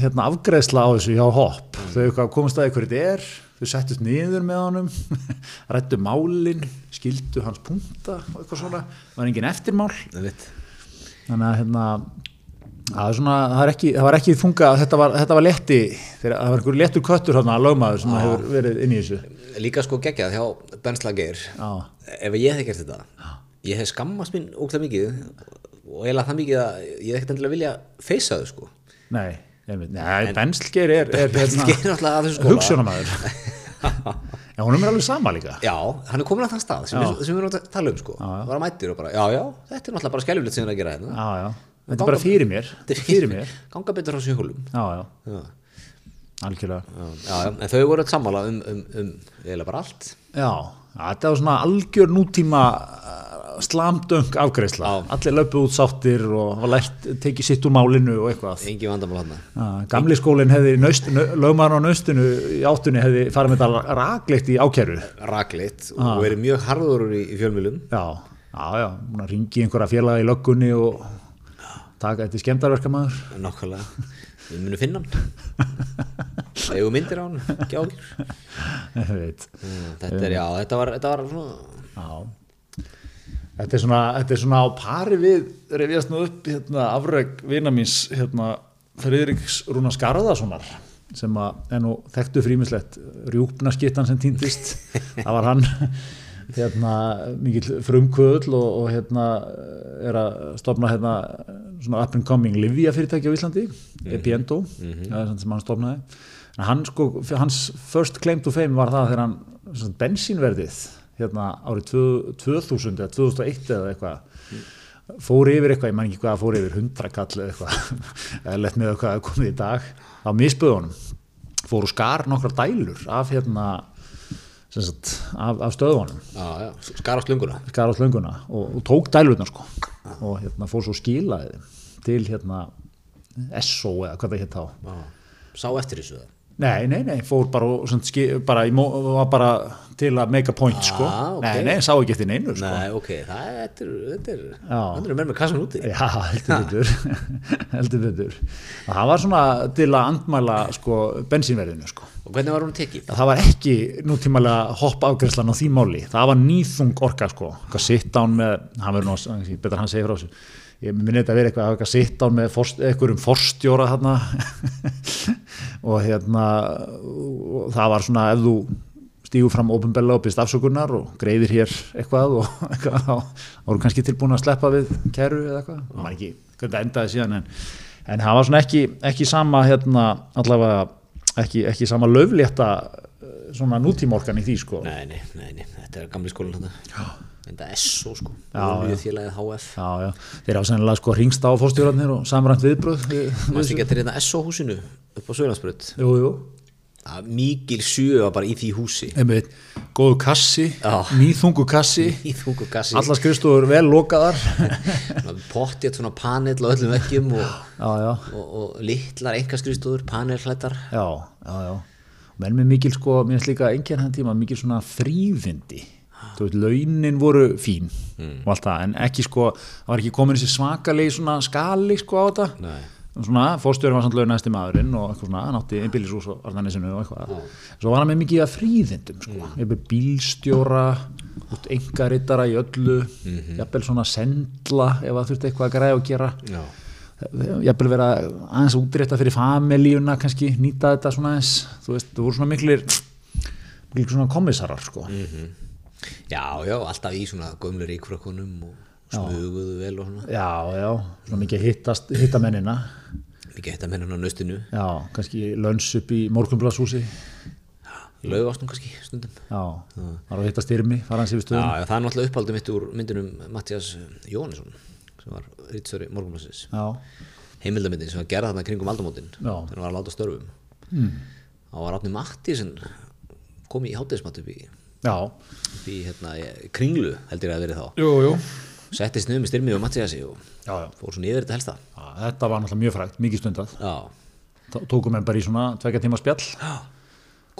A: hérna afgreðsla á þessu hjá hopp.
B: Mm.
A: Þau eitthvað komast að því hverju þetta er, þau settust niður með honum, rættu málin, skildu hans punta og eitthvað svona, var engin eftirmál. þannig að hérna það, er svona, það, er ekki, það var ekki þunga þetta var, þetta var letti, þegar, það var einhver lettur köttur hérna, lögmaður sem hefur verið inn í þessu
B: Líka sko geggjað hjá bensla geir
A: Já.
B: Ef ég hef gert þetta Ég hef skammast mín ógla mikið og eiginlega það mikið að ég er ekkert endilega að vilja feysa þau sko
A: Nei, einmitt. Nei, Benslgeir er, er hérna,
B: Geir er alltaf að þessu skóla
A: hugsunamæður. en hún er alveg sama líka.
B: Já, hann er komin að þann stað sem, við- sem við erum að tala um sko var að mættir og bara, já, já, þetta er náttúrulega bara skelfilegt sem er að gera hérna
A: Já, já. Þetta er bara fyrir mér. Fyrir mér.
B: ganga betur frá sér hólum
A: Já, já.
B: já,
A: Algjörlega.
B: já, já, en þau voru að sammála um, um, um eiginlega bara allt
A: Já, þetta var svona algjör nútíma slamdöng afgreisla. Allir löpuð út sáttir og hafa lært, tekið sitt úr málinu og eitthvað.
B: engi vandamál hann
A: Já, Gamli skólinn hefði, naust, lögmaður á naustinu í áttunni hefði farið með þetta rakleitt í ákæru.
B: rakleitt og verið mjög harður í, í fjölmjölum
A: Já, já, já, hún að ringi einhverja félaga í löggunni og taka þetta skemmtarverka maður.
B: nákvæmlega, við munum finna hann eigum myndir á hann ekki ágjur
A: Ég veit.
B: þetta er, já, þetta var, þetta var svona
A: Já. Þetta er svona, þetta er svona á pari við reyfjast nú upp hérna, afreg vina míns hérna, Friðriks Rúna Skarðasonar sem að er nú þekktu frímislegt rjúpnaskittan sem týndist það var hann hérna, mikill frumkvöðl og, og hérna, er að stopna hérna, svona up and coming Livia fyrirtæki á Íslandi Epiendo, það er svona sem hann stopnaði en hann sko, hans first claim to fame var það þegar hann svona, bensínverðið hérna árið tvö- 2000 eða 2001 eða eitthvað fór yfir eitthvað, ég man ekki hvað það fór yfir 100 kall eða eitthvað eða lett með eitthvað að komið í dag á misböðunum fóru skar nokkrar dælur af hérna sem sagt, af, af stöðunum
B: já, já, skara slunguna
A: skar á slönguna og, og tók dælurnar sko og hérna fór svo skilaði þeim til hérna SO eða hvað það hétt þá
B: já. sá eftir þessu það
A: Nei, nei, nei, fór bara, og svona ski- bara, í mó- var bara til að make a point sko,
B: Ah, ok.
A: nei, nei, sá ekki eftir neinu sko.
B: Nei, ok, það er, þetta er, þetta er,
A: Já.
B: hann er menn með kassan úti.
A: Já, heldur betur heldur betur og það var svona til að andmæla sko, bensínverðinu sko.
B: Og hvernig var hún tekið?
A: það var ekki nútímalega hopp afgræslan á því máli, það var nýþung orka sko, hvað sitt án með hann verður nú, betur hann segir frá sér ég minni þetta að vera eitthvað, það var eitthvað sitt án með forst, einhverjum forstjóra þarna og hérna og það var svona ef þú stígur fram ofinbella og byrst afsökunar og greiðir hér eitthvað og eitthvað, þá voru kannski tilbúin að sleppa við kæru eða eitthvað, það var ekki hvernig það endaði síðan en, en það var svona ekki, ekki sama hérna allavega ekki, ekki sama löflétta eh, svona nútímorkan í því sko
B: Nei, nei, nei, nei, þetta er gamli skólinn hann. Já. Enda SO sko,
A: Já,
B: Olíufélagið HF.
A: Já, já, þeir hafa sennilega sko hringst á fórstjórarnir og samrænt viðbröð við, við,
B: Mást ekki að þetta er hérna SO húsinu upp á Söðlandsbröð.
A: Jú, jú,
B: Mikil sjö var bara í því húsi.
A: einmitt, góðu kassi
B: Já.
A: nýþungu kassi
B: Í þungu gassi.
A: allar skrifstofur vel lokaðar
B: Pottjætt svona panel á öllum veggjum og,
A: Já, já
B: og, og litlar engaskrifstúður, panelhlættar.
A: já, já, já menn með mikil sko, mér finnst líka enginn hann tíma mikil svona þrýfindi þú veist, launin voru fín og allt það, en ekki sko það var ekki komin þessi svakalegi svona skali sko á þetta
B: Nei.
A: svona, fórstjóri var samt launæðasti maðurinn og eitthvað svona, hann átti einbýlisús og arðanisinu og eitthvað, svo var hann með mikið að fríðindum sko, eitthvað bílstjóra út engarittara í öllu jafnvel svona sendla ef það þurfti eitthvað að græja og gera
B: Já.
A: jafnvel vera aðeins að útrétta fyrir familíuna kannski, nýta þetta svona aðeins þú veist, þú voru svona miklir miklir svona komissarar sko
B: Já, já, alltaf í svona gömlu ríkfrakonum og smuguðu vel og svona.
A: já, já, svona mikið að hittast, hitta mennina
B: Mikið hægt að menna hann á nöstinu.
A: já, kannski lönns upp í morgunblasúsi
B: laugast nú kannski stundum
A: já, var að hitta styrmi fara hans yfir
B: já,
A: stöðun
B: já, það er náttúrulega uppaldið mitt úr myndunum Mattias Jóhannesson sem var rýtsöri morgunblassins
A: já,
B: heimildamindin sem var gerða þarna kringum aldamótin
A: Já.
B: þegar hann var að láta störfum mm. og var Átni Mattiasen kom í hátæðismat upp í,
A: já,
B: upp í hérna, í kringlu heldur ég að hafi verið þá
A: jú, jú
B: settist niður með styrmið og Mattiasi og
A: já, já.
B: fór svona yfir þetta helsta
A: Já, þetta var náttúrulega mjög frægt, mikið stundað
B: já,
A: Tó- tókum enn bara í svona tvekja tíma spjall
B: já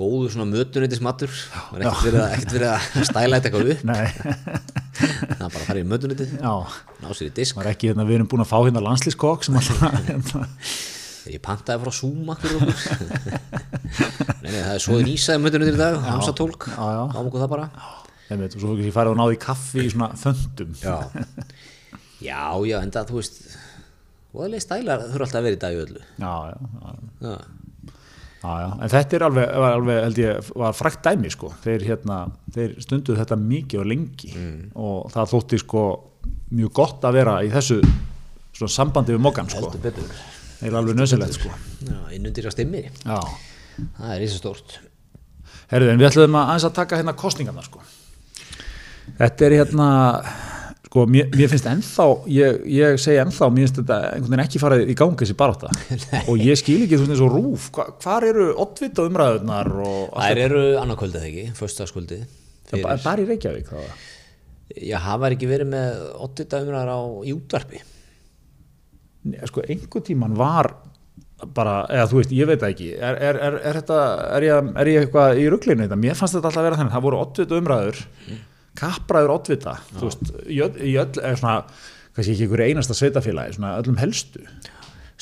B: góðu svona mötuneytismatur var ekkert verið, að- ekkert verið að stæla þetta eitthvað upp
A: nei,
B: það var bara að fara í mötuneytið
A: já
B: ná sér í disk
A: var ekki hérna, við erum búin að fá hérna landslískokk sem alltaf hérna.
B: Ég pantaði frá Zuma fyrir okkur Nei, nei, það er svo nýsaði mötunum í dag, hamsa tólk
A: Já, já.
B: Ám okkur það bara
A: Einmitt, og svo fyrir farið og náði í kaffi í svona föndum
B: Já, já, já enda þú veist Voðalegi stælar þurfa alltaf að vera í dag í öllu
A: já, já, já,
B: Já,
A: já, já. en þetta er alveg, var alveg held ég, var frækt dæmi sko. þeir, hérna, þeir stunduð þetta mikið og lengi og það þótti sko mjög gott að vera í þessu svona sambandi við mokkan sko.
B: heldur betur
A: Það er alveg nöðsilegt sko.
B: Já, innundir að stimmi,
A: Já.
B: það er ísa stórt
A: Herðu, en við ætlum að aðeins að taka hérna kostningarna sko. Þetta er hérna, sko, mér, mér finnst ennþá, ég, ég segi ennþá, mér finnst þetta einhvern veginn ekki farið í gangi þessi barátta. og ég skil ekki þú veist eins og rúf, hva, hvar eru oddvita umræðunar og allt
B: Það eru annarkvöldið ekki, föstaskvöldið
A: þetta, bara, bara í Reykjavík þá.
B: Já, hafa ekki verið með 80 umræðar á í útvarpi
A: Nei, Sko, einhvern tíman var bara, eða þú veist, ég veit það ekki, er, er, er, er, þetta, er, ég, er ég eitthvað í ruglinu þetta? Mér fannst þetta alltaf að vera þannig, það voru oddvita umræður, kappræður oddvita, þú veist, í öll, í öll er svona, kannski ekki einhverju einasta sveitafélagi, svona öllum helstu.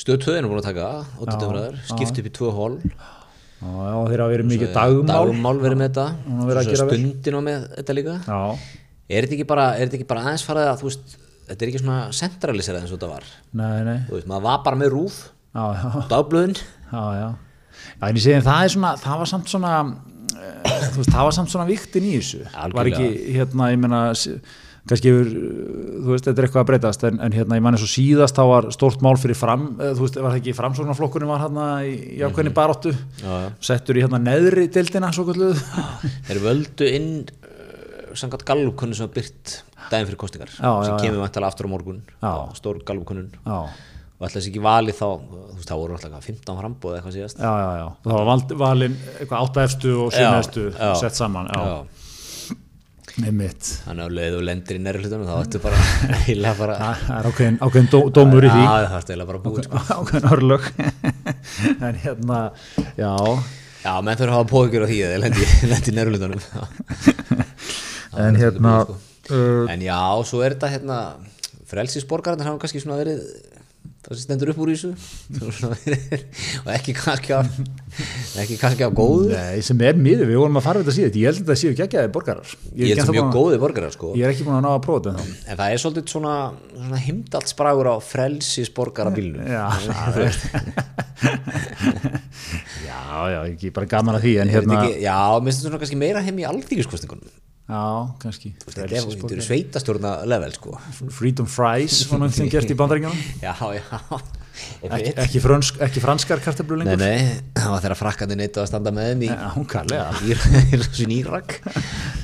B: Stöð 2 er nú búin að taka 80 umræðar, skipt upp í 2 hól
A: Já, já, þeir hafa verið mikið dagmál.
B: Dagmál verið með þetta
A: Hún er verið að
B: svo
A: gera vel.
B: Stundin á með þetta líka
A: Já,
B: Er þetta ekki bara, er þetta ekki bara aðeins farið að þú veist, þetta er ekki svona centraliserað eins og þetta var
A: nei, nei,
B: Þú veist, maður var bara með rúf,
A: já, já.
B: dagblöðin
A: Já, já. Já, en ég segi, en það er svona, það var samt svona, eh, þú veist, það var samt svona viktin í þessu.
B: Algjörlega.
A: Var ekki, hérna, ég meina, s- kannski hefur, eh, þú veist, þetta er eitthvað að breytast, en, en hérna, ég man eins og síðast, þá var stórt mál fyrir fram, eh, þú veist, var það ekki framsóknarflokkurinn var hérna í, í ákveðinni baráttu,
B: Mhm. Já, já.
A: settur í hérna neðri deildina, svo kalluðu.
B: Þeir völdu inn uh, samkvæmt galvkunnum sem var byrt daginn fyrir kostingar
A: Já,
B: sem
A: já,
B: kemur vantalega aftur á morgun
A: Já.
B: stór galvkunnun
A: Já,
B: og alltaf þessi ekki valið þá þú veist, þá voru alltaf hvað, 15 frambóð eitthvað síðast
A: já, já, já. Það var vald, valin eitthvað áttaefstu og sjönaefstu
B: Já, já.
A: sett saman, já,
B: Já.
A: einmitt.
B: þannig að leðu lendir í næri hlutunum þá ættu bara heila bara
A: Það það er ákveðin, ákveðin dó, dómur í því.
B: Já, það ættu heila bara búið sko.
A: ákveðin örlög en hérna, já
B: Já, menn þurfa að hafa pókjur á því að þeir lendi, lendi í næri hlutunum
A: en hérna uh,
B: En já, svo er þetta hérna frelsisborgarnir hafa kannski svona verið það sem stendur upp úr í þessu Svona verið- og ekki kannski af ekki kannski af góðu
A: nei, sem er miður, við vorum að fara við þetta síðan ég held að þetta séu geggjaði borgarar
B: ég
A: er ekki
B: held sem
A: ennþá
B: mjög
A: búinn að-
B: góði borgarar sko
A: ég er ekki búin að ná að prófa þetta ennþá.
B: en það er svolítið svona, svona himdalsbragur á frelsisborgara bílnum
A: já, það er já, já, ekki bara gaman að því en
B: hérna,
A: hérna,
B: ekki, já, minnst þetta svona kannski meira heim í alþýgjuskostningunum
A: já, kannski
B: þetta er- þetta eru sveitastjórna level sko
A: freedom fries, svona sem gert í bandaríkjunum
B: já, já
A: ekki, ekki, frönsk, ekki franskar kartablu
B: nei,
A: lengur
B: nei, það var þegar frakkandi neittu að standa með þeim í
A: já, hún kallega
B: Írasin Írak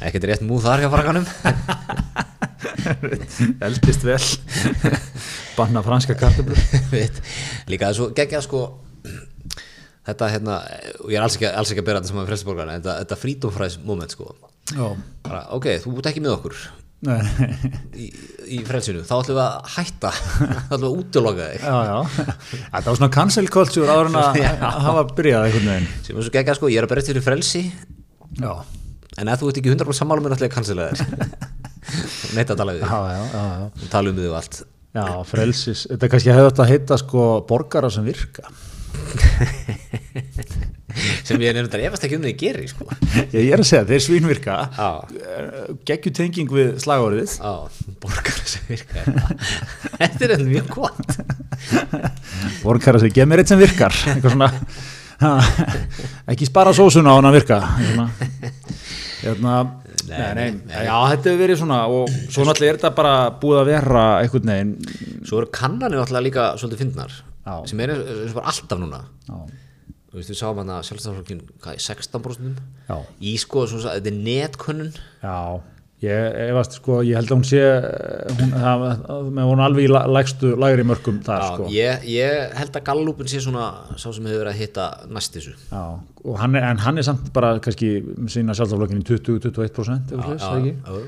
B: ekkert rétt múð þar hjá frakkanum
A: eldist vel banna franska kartablu
B: Veit. líka þessu geggja sko þetta hérna og ég er alls ekki, alls ekki að bera þetta saman við frelsisborgarna þetta, þetta frítumfræs moment sko
A: já,
B: bara, ok, þú ert ekki með okkur
A: nei, nei
B: í, í frelsinu, þá ætlum við að hætta þá ætlum við að útiloka þig
A: já, já. Þetta var svona cancel culture áður en að að hafa byrjað einhvern veginn.
B: sem er svo geggjað sko, ég er að berja til frelsi
A: Já,
B: en ef þú ert ekki 100% sammála mér ætlum ég að cancela þér neitt að tala við
A: já, já, já, já.
B: þig tala um við og allt
A: Já, frelsis, þetta kannski hefði þetta að heita sko borgara sem virka.
B: sem ég nefndar efast ekki um því að gera sko.
A: Ég, ég er að segja, þeir svínvirka,
B: á,
A: geggju tenging við slagorðið.
B: á, borgar sem virka hérna. þetta er enn mjög gott
A: Borgara sem, gef mér eitt sem virkar, eitthvað svona, ha, ekki spara sósuna á hann að virka. Svona. Hérna, nei,
B: Nei,
A: nei, já, þetta hefur verið svona og svo náttúrulega er þetta bara búið að vera einhvern veginn.
B: svo eru kannanir alltaf líka svolítið fyndnar
A: Já.
B: sem er eins- eins og bara alltaf núna
A: Já,
B: Þú veist, við sáum hann að sjálfstæðarflokkin hvað, í 16%
A: já.
B: í sko, svo, þetta er netkönnun
A: Já, ég efast sko, ég held að hún sé eh, hún, það, það, með hún alveg í la- lægstu lægri mörkum þar
B: Já,
A: sko
B: ég, ég held að Gallupin sé svona sá sem hefur verið að hitta næst þessu
A: Já, og hann er, en hann er samt bara kannski með sína sjálfstaflokkin í 20-21% eitthvað slags, það ekki?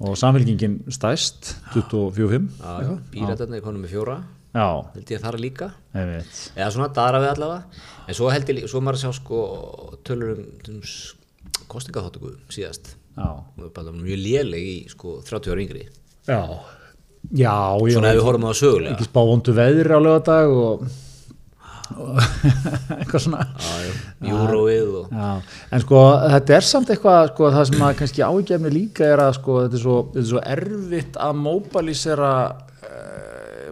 A: og samfélkingin stæst 24-5 eitthvað.
B: Píratarni er konum með fjóra
A: Já,
B: held ég þar líka
A: einmitt
B: eða svona dara við allavega en svo held ég, lí- svo er maður að sjá sko tölur um, um s- kosningaþátttöku síðast
A: Já,
B: Hún er bara mjög léleg í sko 30 ára yngri
A: já, já ég
B: svona ef við horfum á það sögulega
A: ekki spá vondu veðri á lögadag og, og eitthvað svona
B: Júróið og
A: Já, en sko þetta er samt eitthvað sko, það sem að kannski ágefni líka er að sko, þetta, er svo, þetta er svo erfitt að móbalísera eh,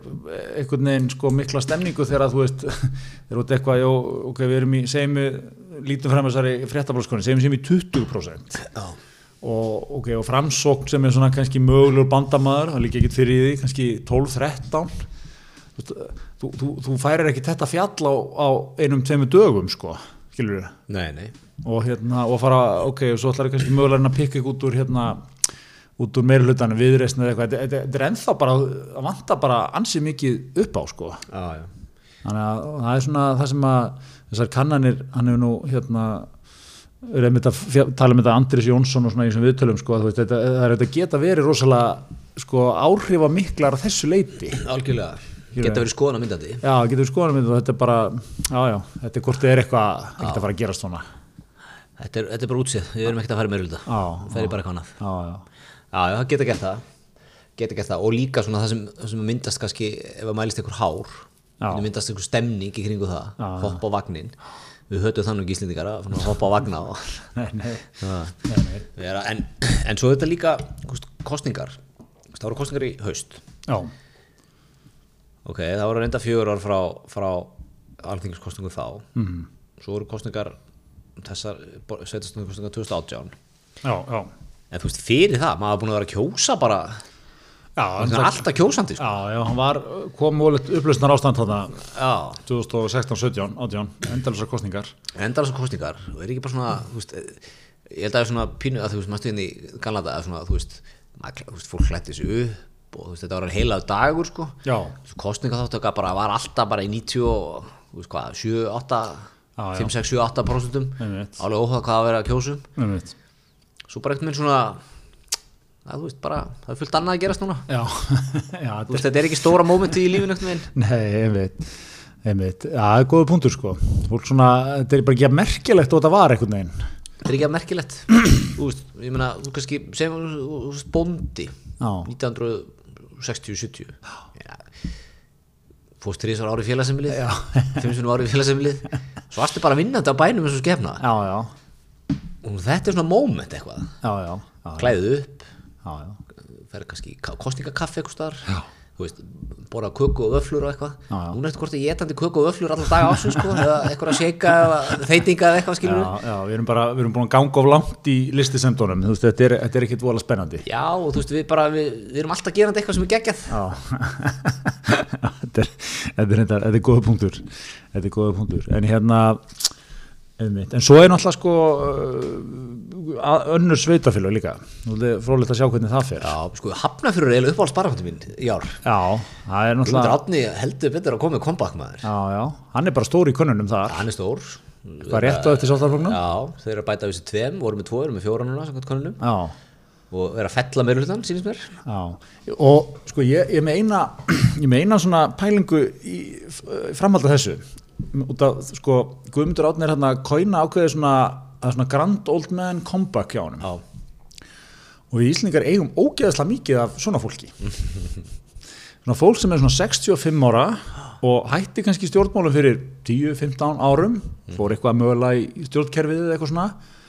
A: einhvern veginn sko, mikla stemningu þegar að þú veist þegar út eitthvað, jó, ok, við erum í segjum við, lítum fram þessari fréttabrálskonni segjum við sem í 20%
B: Já.
A: og, ok, og framsókn sem er svona kannski mögulegur bandamaður, það líka ekkert fyrir í því kannski 12-13 þú, veist, þú, þú, þú færir ekki þetta fjall á, á einum tveimur dögum sko, skilur við
B: nei, nei,
A: og hérna, og fara, ok, og svo ætlar kannski mögulega að pikka ykkur út úr hérna út úr meirlutan viðreisn eða eitthvað þetta, þetta, þetta er ennþá bara, að vanta bara ansi mikið upp á sko
B: já, já
A: þannig að það er svona það sem að þessar kannanir, hann hefur nú hérna er einmitt að fjall- tala um þetta Andris Jónsson og svona í þessum viðtölum sko, að þú veist, þetta, það er þetta geta verið rosalega sko áhrifa miklar að þessu leiti
B: algjörlega,
A: Ég
B: geta
A: veit.
B: verið skoðan myndandi
A: Já, getur við skoðanum þetta og þetta er bara, já, já, þetta er hvort þið er eitthvað ekkert að fara að gerast svona.
B: þetta er, þetta er bara útsið, við erum ekkert að fara meira hluta
A: Já,
B: það er bara eitthvað annað
A: Já, já,
B: já, já, það geta gert það geta gert það og líka svona það sem, það sem myndast kannski ef að mælist einhver hár
A: Já.
B: það myndast einhver stemning í kringu það
A: Já, já.
B: hoppa á vagnin, við höfðum þannig gíslendingar að svona hoppa á vagna og,
A: nei, nei, nei, nei.
B: vera, en, en svo er þetta líka þú veist, kosningar, Þú veist, það voru kosningar í haust
A: Já,
B: ok, það voru reynda fjögur ár frá, frá alþingiskostningu þá mm.
A: Mhm.
B: svo voru kostningar þessar sveitastunarkostningar 2018
A: já, já.
B: en þú veist, fyrir það, maður er búin að vera að kjósa bara,
A: Já,
B: maður er alltaf kjósandi sko.
A: já, já, hann var, kom múlið upplösnar ástand þarna
B: já,
A: 2016, 17, 18, endalusar kostningar.
B: endar þessar kostningar og er ekki bara svona, þú veist eh, ég held að það er svona pínu að þú veist, maður stuðin í Galanda að svona, þú veist, maður, klæ- þú veist fólk hlætti sig upp og þú veist, þetta var heila dagur sko,
A: Já.
B: svo kostninga þáttaka bara var alltaf bara í 90 og, þú veist hvað, 7, 8
A: Já, já.
B: 5, 6, 7, 8 prosentum
A: Einmitt.
B: alveg óhvað hvað að vera að kjósum
A: Einmitt.
B: svo bara eitthvað svona að þú veist, bara, það er fullt annað að gerast núna
A: Já, já,
B: þú veist, þetta er ekki stóra mómenti í lífinu einhvern veginn
A: Nei, einmitt, einmitt, já, það er góða punktur sko, fólk svona, þetta er bara ekki að merkilegt og þetta var einhvern veginn.
B: þetta er ekki að merkilegt þú veist, ég meina, þú kannski segjum, þú þú veist, bóndi
A: Já.
B: 1960-70 ja, fórst þrísar ári félagsemlið fimmsunum ári félagsemlið svo varstu bara vinnandi á bænum eins og skefna
A: Já, já,
B: og þetta er svona moment eitthvað
A: já, já, já,
B: klæðið upp,
A: já, já,
B: ferð kannski í ka- kosningakaffi eitthvað starf þú veist, borða köku og vöflur og eitthvað
A: Já, já.
B: núna eftir hvort ég etandi köku og vöflur allan dag ásins sko, eða eitthvað að shakea eða þeitinga eða eitthvað skilur
A: já, já, við erum bara, við erum búin að ganga of langt í listisendunum, þú veist, þetta er, þetta er ekkit vola spennandi.
B: Já, og þú veist, við bara, við, við erum alltaf gerandi eitthvað sem er geggjað
A: Já, þetta er, þetta er, þetta þetta er góða punktur, þetta er góða punktur, en hérna, einmitt, en svo er náttúrulega sko uh, að- önnur sveitafélag líka, nú er frólægt að sjá hvernig það fer.
B: Já, sko, hafnafjörur er eiginlega uppáhalds barafandi mín í ár
A: Já, það er
B: Guðmundur
A: náttúrulega,
B: Átni heldur betur að koma með comeback maður
A: já, já, hann er bara stór í könnunum þar.
B: Hann er stór
A: Hvað rétt á eftir sjálfstæðarflokknum?
B: Já, þeir eru að bæta við þessi tveim, voru með tvo, eru með fjóra núna samkvæmt konunum
A: Já,
B: og eru að fella meira hlutan, sínist mér
A: já. Og sko ég, ég meina, ég meina svona pælingu í eh, framhald af þessu. Út af, sko, Guðmundur Átni er hérna að kóina ákveðið svona, það er svona grand old man comeback hjá honum.
B: Já,
A: Og við Íslingar eigum ógeðslega mikið af svona fólki. Svona fólk sem er svona 65 ára og hætti kannski stjórnmálum fyrir 10-15 árum, fór eitthvað mögulega í stjórnkerfið eða eitthvað svona.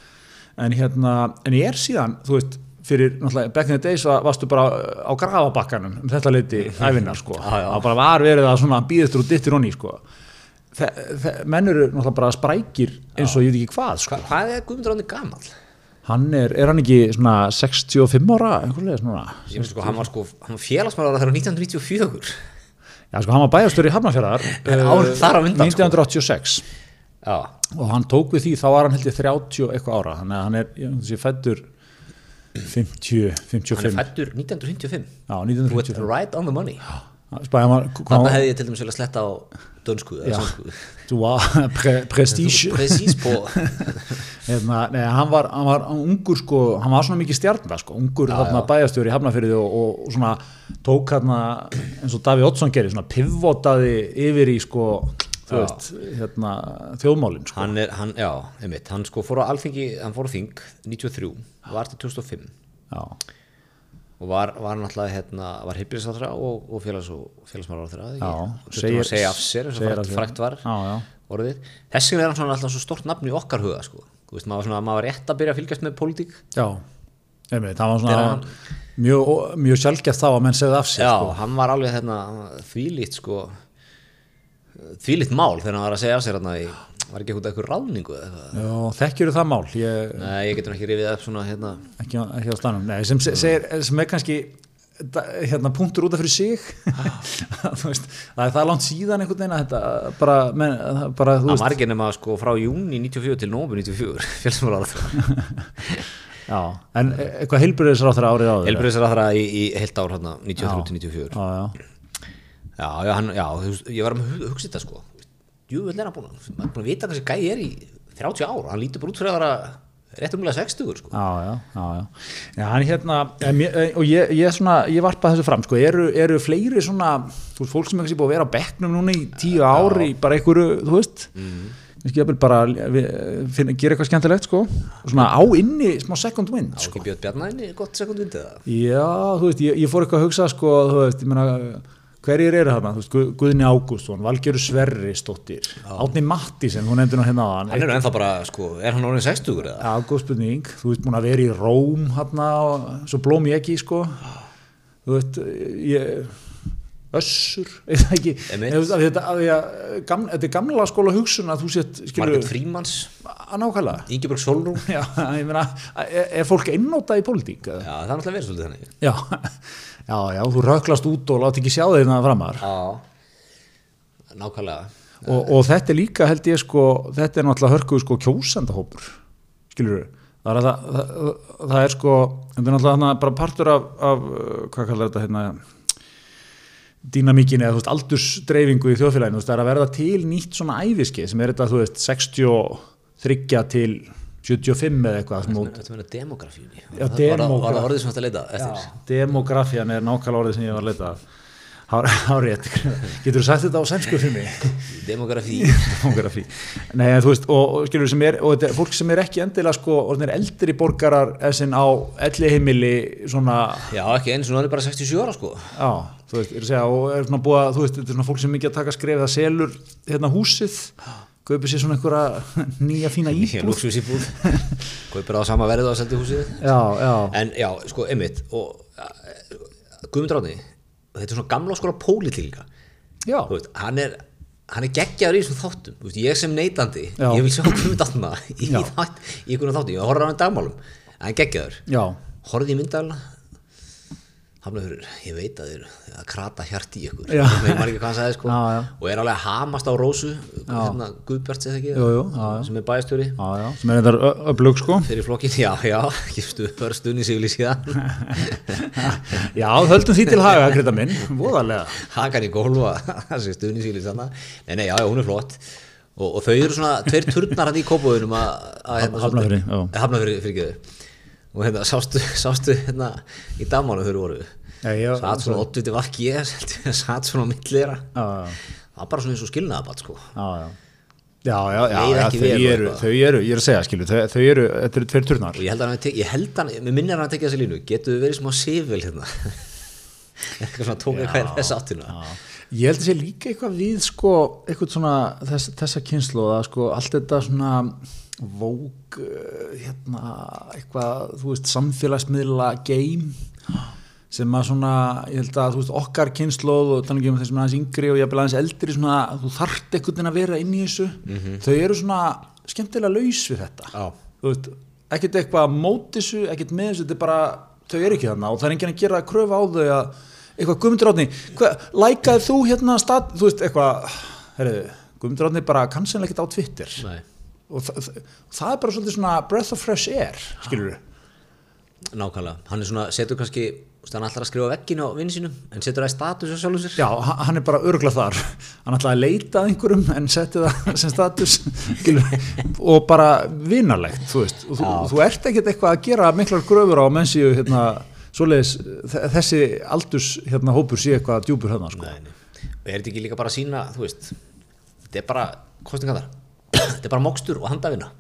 A: en hérna, en ég er síðan þú veist, fyrir náttúrulega back in the days var- varstu bara uh, á grafabakkanum um þetta leiti æfinnar sko
B: Já, já.
A: það bara var verið að svona býðistur og dittir honni sko Þe, þe, menn eru náttúrulega bara sprækir eins og ég veit ekki hvað sko.
B: Hva, hvað er Guðmundur Átni gamall?
A: hann er, er hann ekki svona 65 ára einhverlega svona
B: Ég veist sko, hann var sko, hann var félagsmálar þegar 1994
A: já sko hann var bæjastur í Hafnarfjörðar
B: En árið
A: eh,
B: þar á undan, sko.
A: 1986
B: Já,
A: og hann tók við því þá var hann held ég 30 og eitthvað ára þannig að hann er, ég þessi fættur 50, 55
B: hann er fættur
A: já,
B: 1955 Þú ert
A: 1955
B: right on the money
A: Spæði maður, hvað
B: Þarna hefði ég til dæmis vel að sletta á dönsku eða sænsku
A: þú var pre, prestige
B: Precís på
A: hérna, nei, hann var, hann var ungur sko, hann var svona mikið stjarnar sko, ungur þarna bæjastjóri í Hafnafyrði og, og, og svona tók hérna eins og Davíð Oddsson gerir, svona pivotaði yfir í sko, þú veist hérna, þjóðmálin sko
B: hann er, hann, já, einmitt, hann sko fór á alþingi, hann fór á þing 93, var til 2005
A: já,
B: og var, var náttúrulega hérna, var heilbíðisáttra og, og félags og félagsmálarátra
A: Já,
B: segir,
A: segir-
B: segja af sér, eins og
A: segir af
B: frækt,
A: sér.
B: frækt var
A: Já, já.
B: orðið, þess vegna er hann svona alltaf svo stort nafn í okkar huga, sko, þú veist, maður, var svona, maður var rétt að byrja að fylgjast með pólitík,
A: já einmitt, það var
B: Er
A: svona
B: hann-
A: mjög, mjög sjálfgeft þá að menn segði af sér
B: já,
A: sko.
B: hann var alveg hérna, þvílíkt, sko þvílíkt mál þegar hann var að segja af sér hérna, í- var ekki eitthvað eitthvað ráningu eða eitthvað,
A: já, þekkjur það mál ég,
B: nei, ég getur ekki rifið upp svona, hérna,
A: ekki, á- ekki á stanum Nei, sem, se- segir, sem er kannski da- hérna, punktur út af fyrir sig
B: Ah.
A: Þú veist, það er það langt síðan einhvern veginn að þetta bara, men, að- bara þú
B: Það
A: veist,
B: var ekki nema sko frá júni 94 til nómur 94 fjölsmálar á það
A: já, en e- eitthvað heilbröðisráþra árið áður
B: Elbreyðsar að það í, í heilt ár hérna 93-94
A: já, já,
B: já, já, hann, já, þú veist, ég var að hu- hugsa þetta sko Jú, vel er hann búin að maður er búin að vita hvað þessi gæi er í 30 ár hann lítur bara út fyrir að vera rétt umlega 60 sko.
A: já, já, já, já. já hann hérna, en mér- en- og ég, ég, svona, ég varpa þessu fram, sko, eru, eru fleiri svona, þú veist, fólk sem er kannski búið að vera á bekknum núna í tíu ár í bara einhverju, þú veist kannski jafnvel bara við, finna, gera eitthvað skemmtilegt, sko, og svona á inni smá second wind,
B: Á ekki Björn Bjarnæðinni gott sekund vindið það
A: Já, þú veist, ég, ég fór eitthvað að hugsa sko, þú veist, ég meina hverjir eru þarna, þú veist, Guð, Guðni Ágústsson Valgeru Sverri stóttir Átni Mattísen, þú nefndir nú hérna á hann
B: Hann er nú ennþá bara, sko, er hann orðin 60 eða?
A: Ágústbyrning, þú veist, múin að vera í Róm hérna, og svo blóm ég ekki sko, þú veist ég, össur eða ekki,
B: Einmitt.
A: þú veist, af því þetta, af því að, gam, þetta er gamla skóla hugsun að þú sett, skilur,
B: Margrét Frímans,
A: að nákvæmlega
B: Ingeborg Solrún
A: Já, ég meina, er, er fólk einnóta í pólitík? eða?
B: Já, það er náttúrulega verið svolítið þannig
A: Já, já, já, þú röklast út og láti ekki sjá þeirna framar
B: Já Nákvæmlega
A: og, og þetta er líka held ég sko, þetta er náttúrulega hörkuð sko kjósendahópur, skilur við það er, að, það, það, það er sko þetta er náttúrulega hana bara partur af, af uh, hvað kallar þetta hérna dýnamíkin eða þú veist aldursdreifingu í þjóðfélaginu, þú veist, það er að verða til nýtt svona æfiski sem er þetta, þú veist, 63 til 75 eða eitthvað sem þú
B: Þetta meina demografíunni
A: Já,
B: Var það- var það- Var
A: demógraf-
B: það orðið sem þetta leita eftir
A: Demografían er nákvæmlega orðið sem ég var að leita að. Hár- Hárrétt, getur þú sagt þetta á sænsku fyrir mig?
B: Demografí
A: Demografí. Nei, en þú veist, og, og skilur sem er, og þetta er fólk sem er ekki endilega sko, orðinir eldri borgarar essin á elli heimili, svona,
B: Já, ekki eins og nú er ég bara 67 ára sko
A: já, þú veist, ég er að segja, og er svona búið að, þú veist, þetta er svona fólk sem er mikið að taka skref það selur hérna húsið, kaupir sér svona einhverja nýja fína
B: Ég
A: íbúð.
B: lúksus í búð Kaupir það á sama verið á að seldi húsið
A: Já, já,
B: En já, sko, einmitt og Guðmund Ráni Þetta er svona gamla skóla pólitíka
A: já,
B: Þú veist, hann er hann er geggjaður í þessum þáttum Þú veist, ég sem neytandi,
A: Já.
B: ég vil sjá Guðmund Atna í,
A: Já.
B: þátt, í einhvern þáttum, ég horfði á hann í dagmálum hann er geggjaður,
A: já,
B: horfði í myndalina Hafnafjörður, ég veit að þið eru að krata hjart í ykkur
A: Já.
B: Ég man ekki hvað hann sagði sko
A: Já, já.
B: og er alveg að hamast á Rósu hérna, Guðbjart segði ekki
A: Jú, jú, já, já.
B: sem er bæjastjóri
A: já, já, sem er þetta öflug sko.
B: fyrir flokkin, já, já, ekki stuð bara stunni sig vil ég síðan
A: Já, höldum því til haga, Greta minn, voðalega.
B: hakan í gólfa, þessi stuðnisýli þarna, nei, nei, já, já, hún er flott og, og þau eru svona tveir turnar hann í kópavöðunum að, að
A: Hafnarfirði, já.
B: hafnafyrir fyrir geðu og hérna, sástu, sástu hérna í dagmánu þau voru
A: Já, já,
B: satt svona oddviti vakki ég satt svona á milli þeirra
A: Já, já.
B: það var bara svona eins og skilnaðabat sko
A: já, já. Já, já, já,
B: Leið
A: já
B: ekki
A: þau,
B: vel og
A: eru,
B: eitthvað.
A: þau eru, ég er að segja, skilju, þau, þau eru, þetta eru tveir turnar.
B: og ég held að hann, hafi tek- ég held að hann, mér minnir að hann að tekja þessi línu getur við verið smá sifil hérna eitthvað svona tók eitthvað í þess áttuna
A: Já. Ég held að sé líka eitthvað við, sko, eitthvað svona þess, þessa kynsluða, sko, allt þetta svona vók, eh, hérna, eitthvað, þú veist, samfélagsmiðla game sem að svona, ég held að, þú veist, okkar kynsluð og þannig um þessum aðeins yngri og ég aðeins eldri, svona, þú þarft eitthvað að vera inn í þessu,
B: Mhm.
A: þau eru svona skemmtilega laus við þetta.
B: Já.
A: þú veist, ekkert eitthvað að móti þessu, ekkert með þessu, þetta er bara þau eru ekki þarna og það er enginn að gera að kröfa á þau að eitthvað Guðmundur Átni lækaði þú hérna stað, þú veist eitthvað, herriðu, Guðmundur Átni bara kannsinlega ekkert á Twitter
B: Nei.
A: og það, það, það er bara svolítið svona breath of fresh air, skilur við
B: Nákvæmlega, hann er svona, setur kannski þú veist, hann ætlar að skrifa á veggin á vinn sínum en setur það í status á sjálfum sér
A: Já, ha- hann er bara örgla þar hann ætlaði að leita að einhverjum en setti það sem status skilur, og bara vinalegt þú veist, og þú, þú ert ekkert eitthvað að gera miklar gröfur á menn séu hérna, svoleiðis, þ- þessi aldurs hérna, hópur sé eitthvað djúpur hérna sko.
B: Nei, nei. og er þetta ekki líka bara að sína þú veist, þetta er bara kostninga þar, þetta er bara mokstur og handavina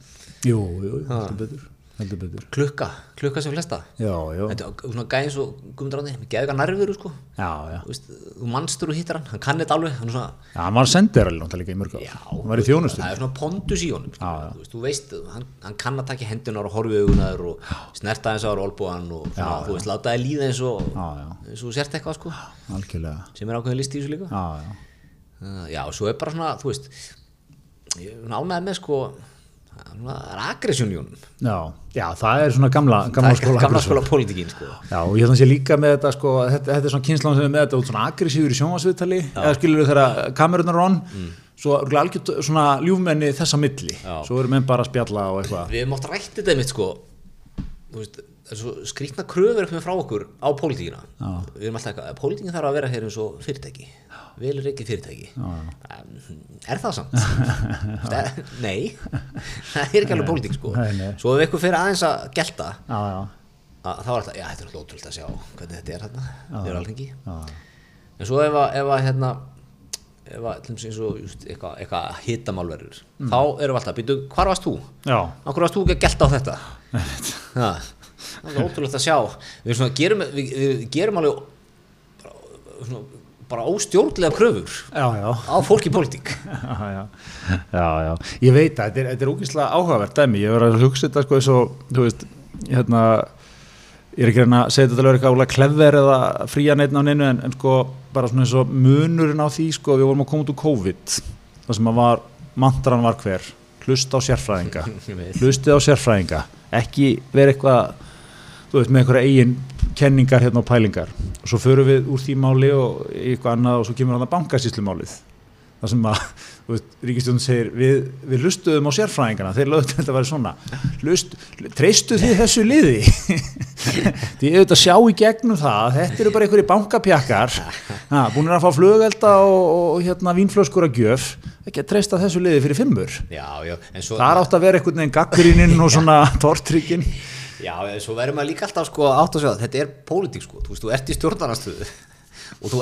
A: Jú, jú, jú, heldur betur heldur betur,
B: klukka, klukka sem flesta
A: já, já
B: þetta er svona gæði eins og Guðmundur Átni með geðuga nærveru sko
A: já, já,
B: Þú veist, þú mannstur og hittar hann, hann kann þetta alveg hann er svona,
A: já, hann var sendir alveg náttúrulega líka í mörg ár. hann var í þjónustu
B: það er svona pondus í honum sko.
A: Já, já.
B: Þú, veist, þú veist, hann, hann kann að taka hendunar og horfi augunar og snerta eins á olbúan og svona, þú veist, láta það líða eins og
A: Já, já.
B: eins og þú sért eitthvað sko
A: algjörlega,
B: sem er ákveðin listi í þessu líka
A: já, já
B: Eh, Uh, já, og svo er bara svona, þú veist ég er nánaði með sko það er svona- það er aggression í honum
A: já, já, það er svona gamla, gamla
B: Það er
A: skóla
B: gamla skóla pólitíkin sko.
A: Já, og ég þannig sé líka með þetta sko, þetta, þetta er svona kynslan sem er með þetta út svona aggressífur í sjónvarsviðtali, eða skilur við þegar kamerunar er on, svo er algjört svona ljúfmenni þessa milli,
B: Mm. Já.
A: svo eru menn bara að spjalla og eitthvað.
B: við hefum átt rætt þetta einmitt sko þú veist, það er svo skrýtna kröfur upp með frá okkur á pólitíkina við erum alltaf eitthvað, "Eh, pólitíkin þarf að vera hér eins og fyrirtæki vel er ekki fyrirtæki Um, er það samt? Það- nei, það er ekki alveg pólitík sko
A: Nei, nei.
B: svo ef eitthvað fyrir aðeins að gelta
A: Já, já,
B: að þá er alltaf, já þetta er alltaf ótrúld að sjá hvernig þetta er hérna, við erum alveg
A: já,
B: en svo ef að, ef að hérna ef að, til dæmis eins og just, eitthvað, eitthvað hitamálverður,
A: Mm.
B: þá erum við alltaf býtu, hvar varst þú?
A: já,
B: Akkur varst þú ekki að gelta á þetta? Ha, Það er ótrúlegt að sjá Við, svona, gerum, við, við gerum alveg bara- svona, bara óstjórnlega kröfur
A: já, já.
B: á fólk í pólitík
A: Já, já, já, já, ég veit það, þetta er, þetta er ógeðslega áhugavert dæmi, ég verður að hugsa þetta sko eins og, þú veist, hérna, ég er ekki að reyna að segja þetta alveg eitthvað ólega klefver eða fría neitt á neinu en, en sko bara svona eins og munurinn á því sko, við vorum að koma út úr COVID, það sem að var, mantran var hver, hlusta á sérfræðinga, hlustið á sérfræðinga, ekki vera eitthvað, þú veist, með einhverja eigin kenningar hérna og pælingar svo förum við úr því máli og í eitthvað annað og svo kemur hann að bankasýslumálið það sem að, þú veist, Ríkistjón segir við, við lustuðum á sérfræðingana þeir lögðu til að þetta væri svona Lust, treystu þið þessu liði því ég auðvitað sjá í gegnum það að þetta eru bara einhverjir bankapjakkar ha, búinir að fá flugelda og, og hérna vínflöskur að gjöf ekki að treysta þessu liði fyrir fimmur
B: Já, já, en svo
A: það átt að vera einhvern veginn gaggríninn og svona tortrykkin
B: Já, en svo verður maður líka alltaf sko átt að sjá að þetta er pólitík sko, þú veist, þú ert í stjórnarnastöðu og þú,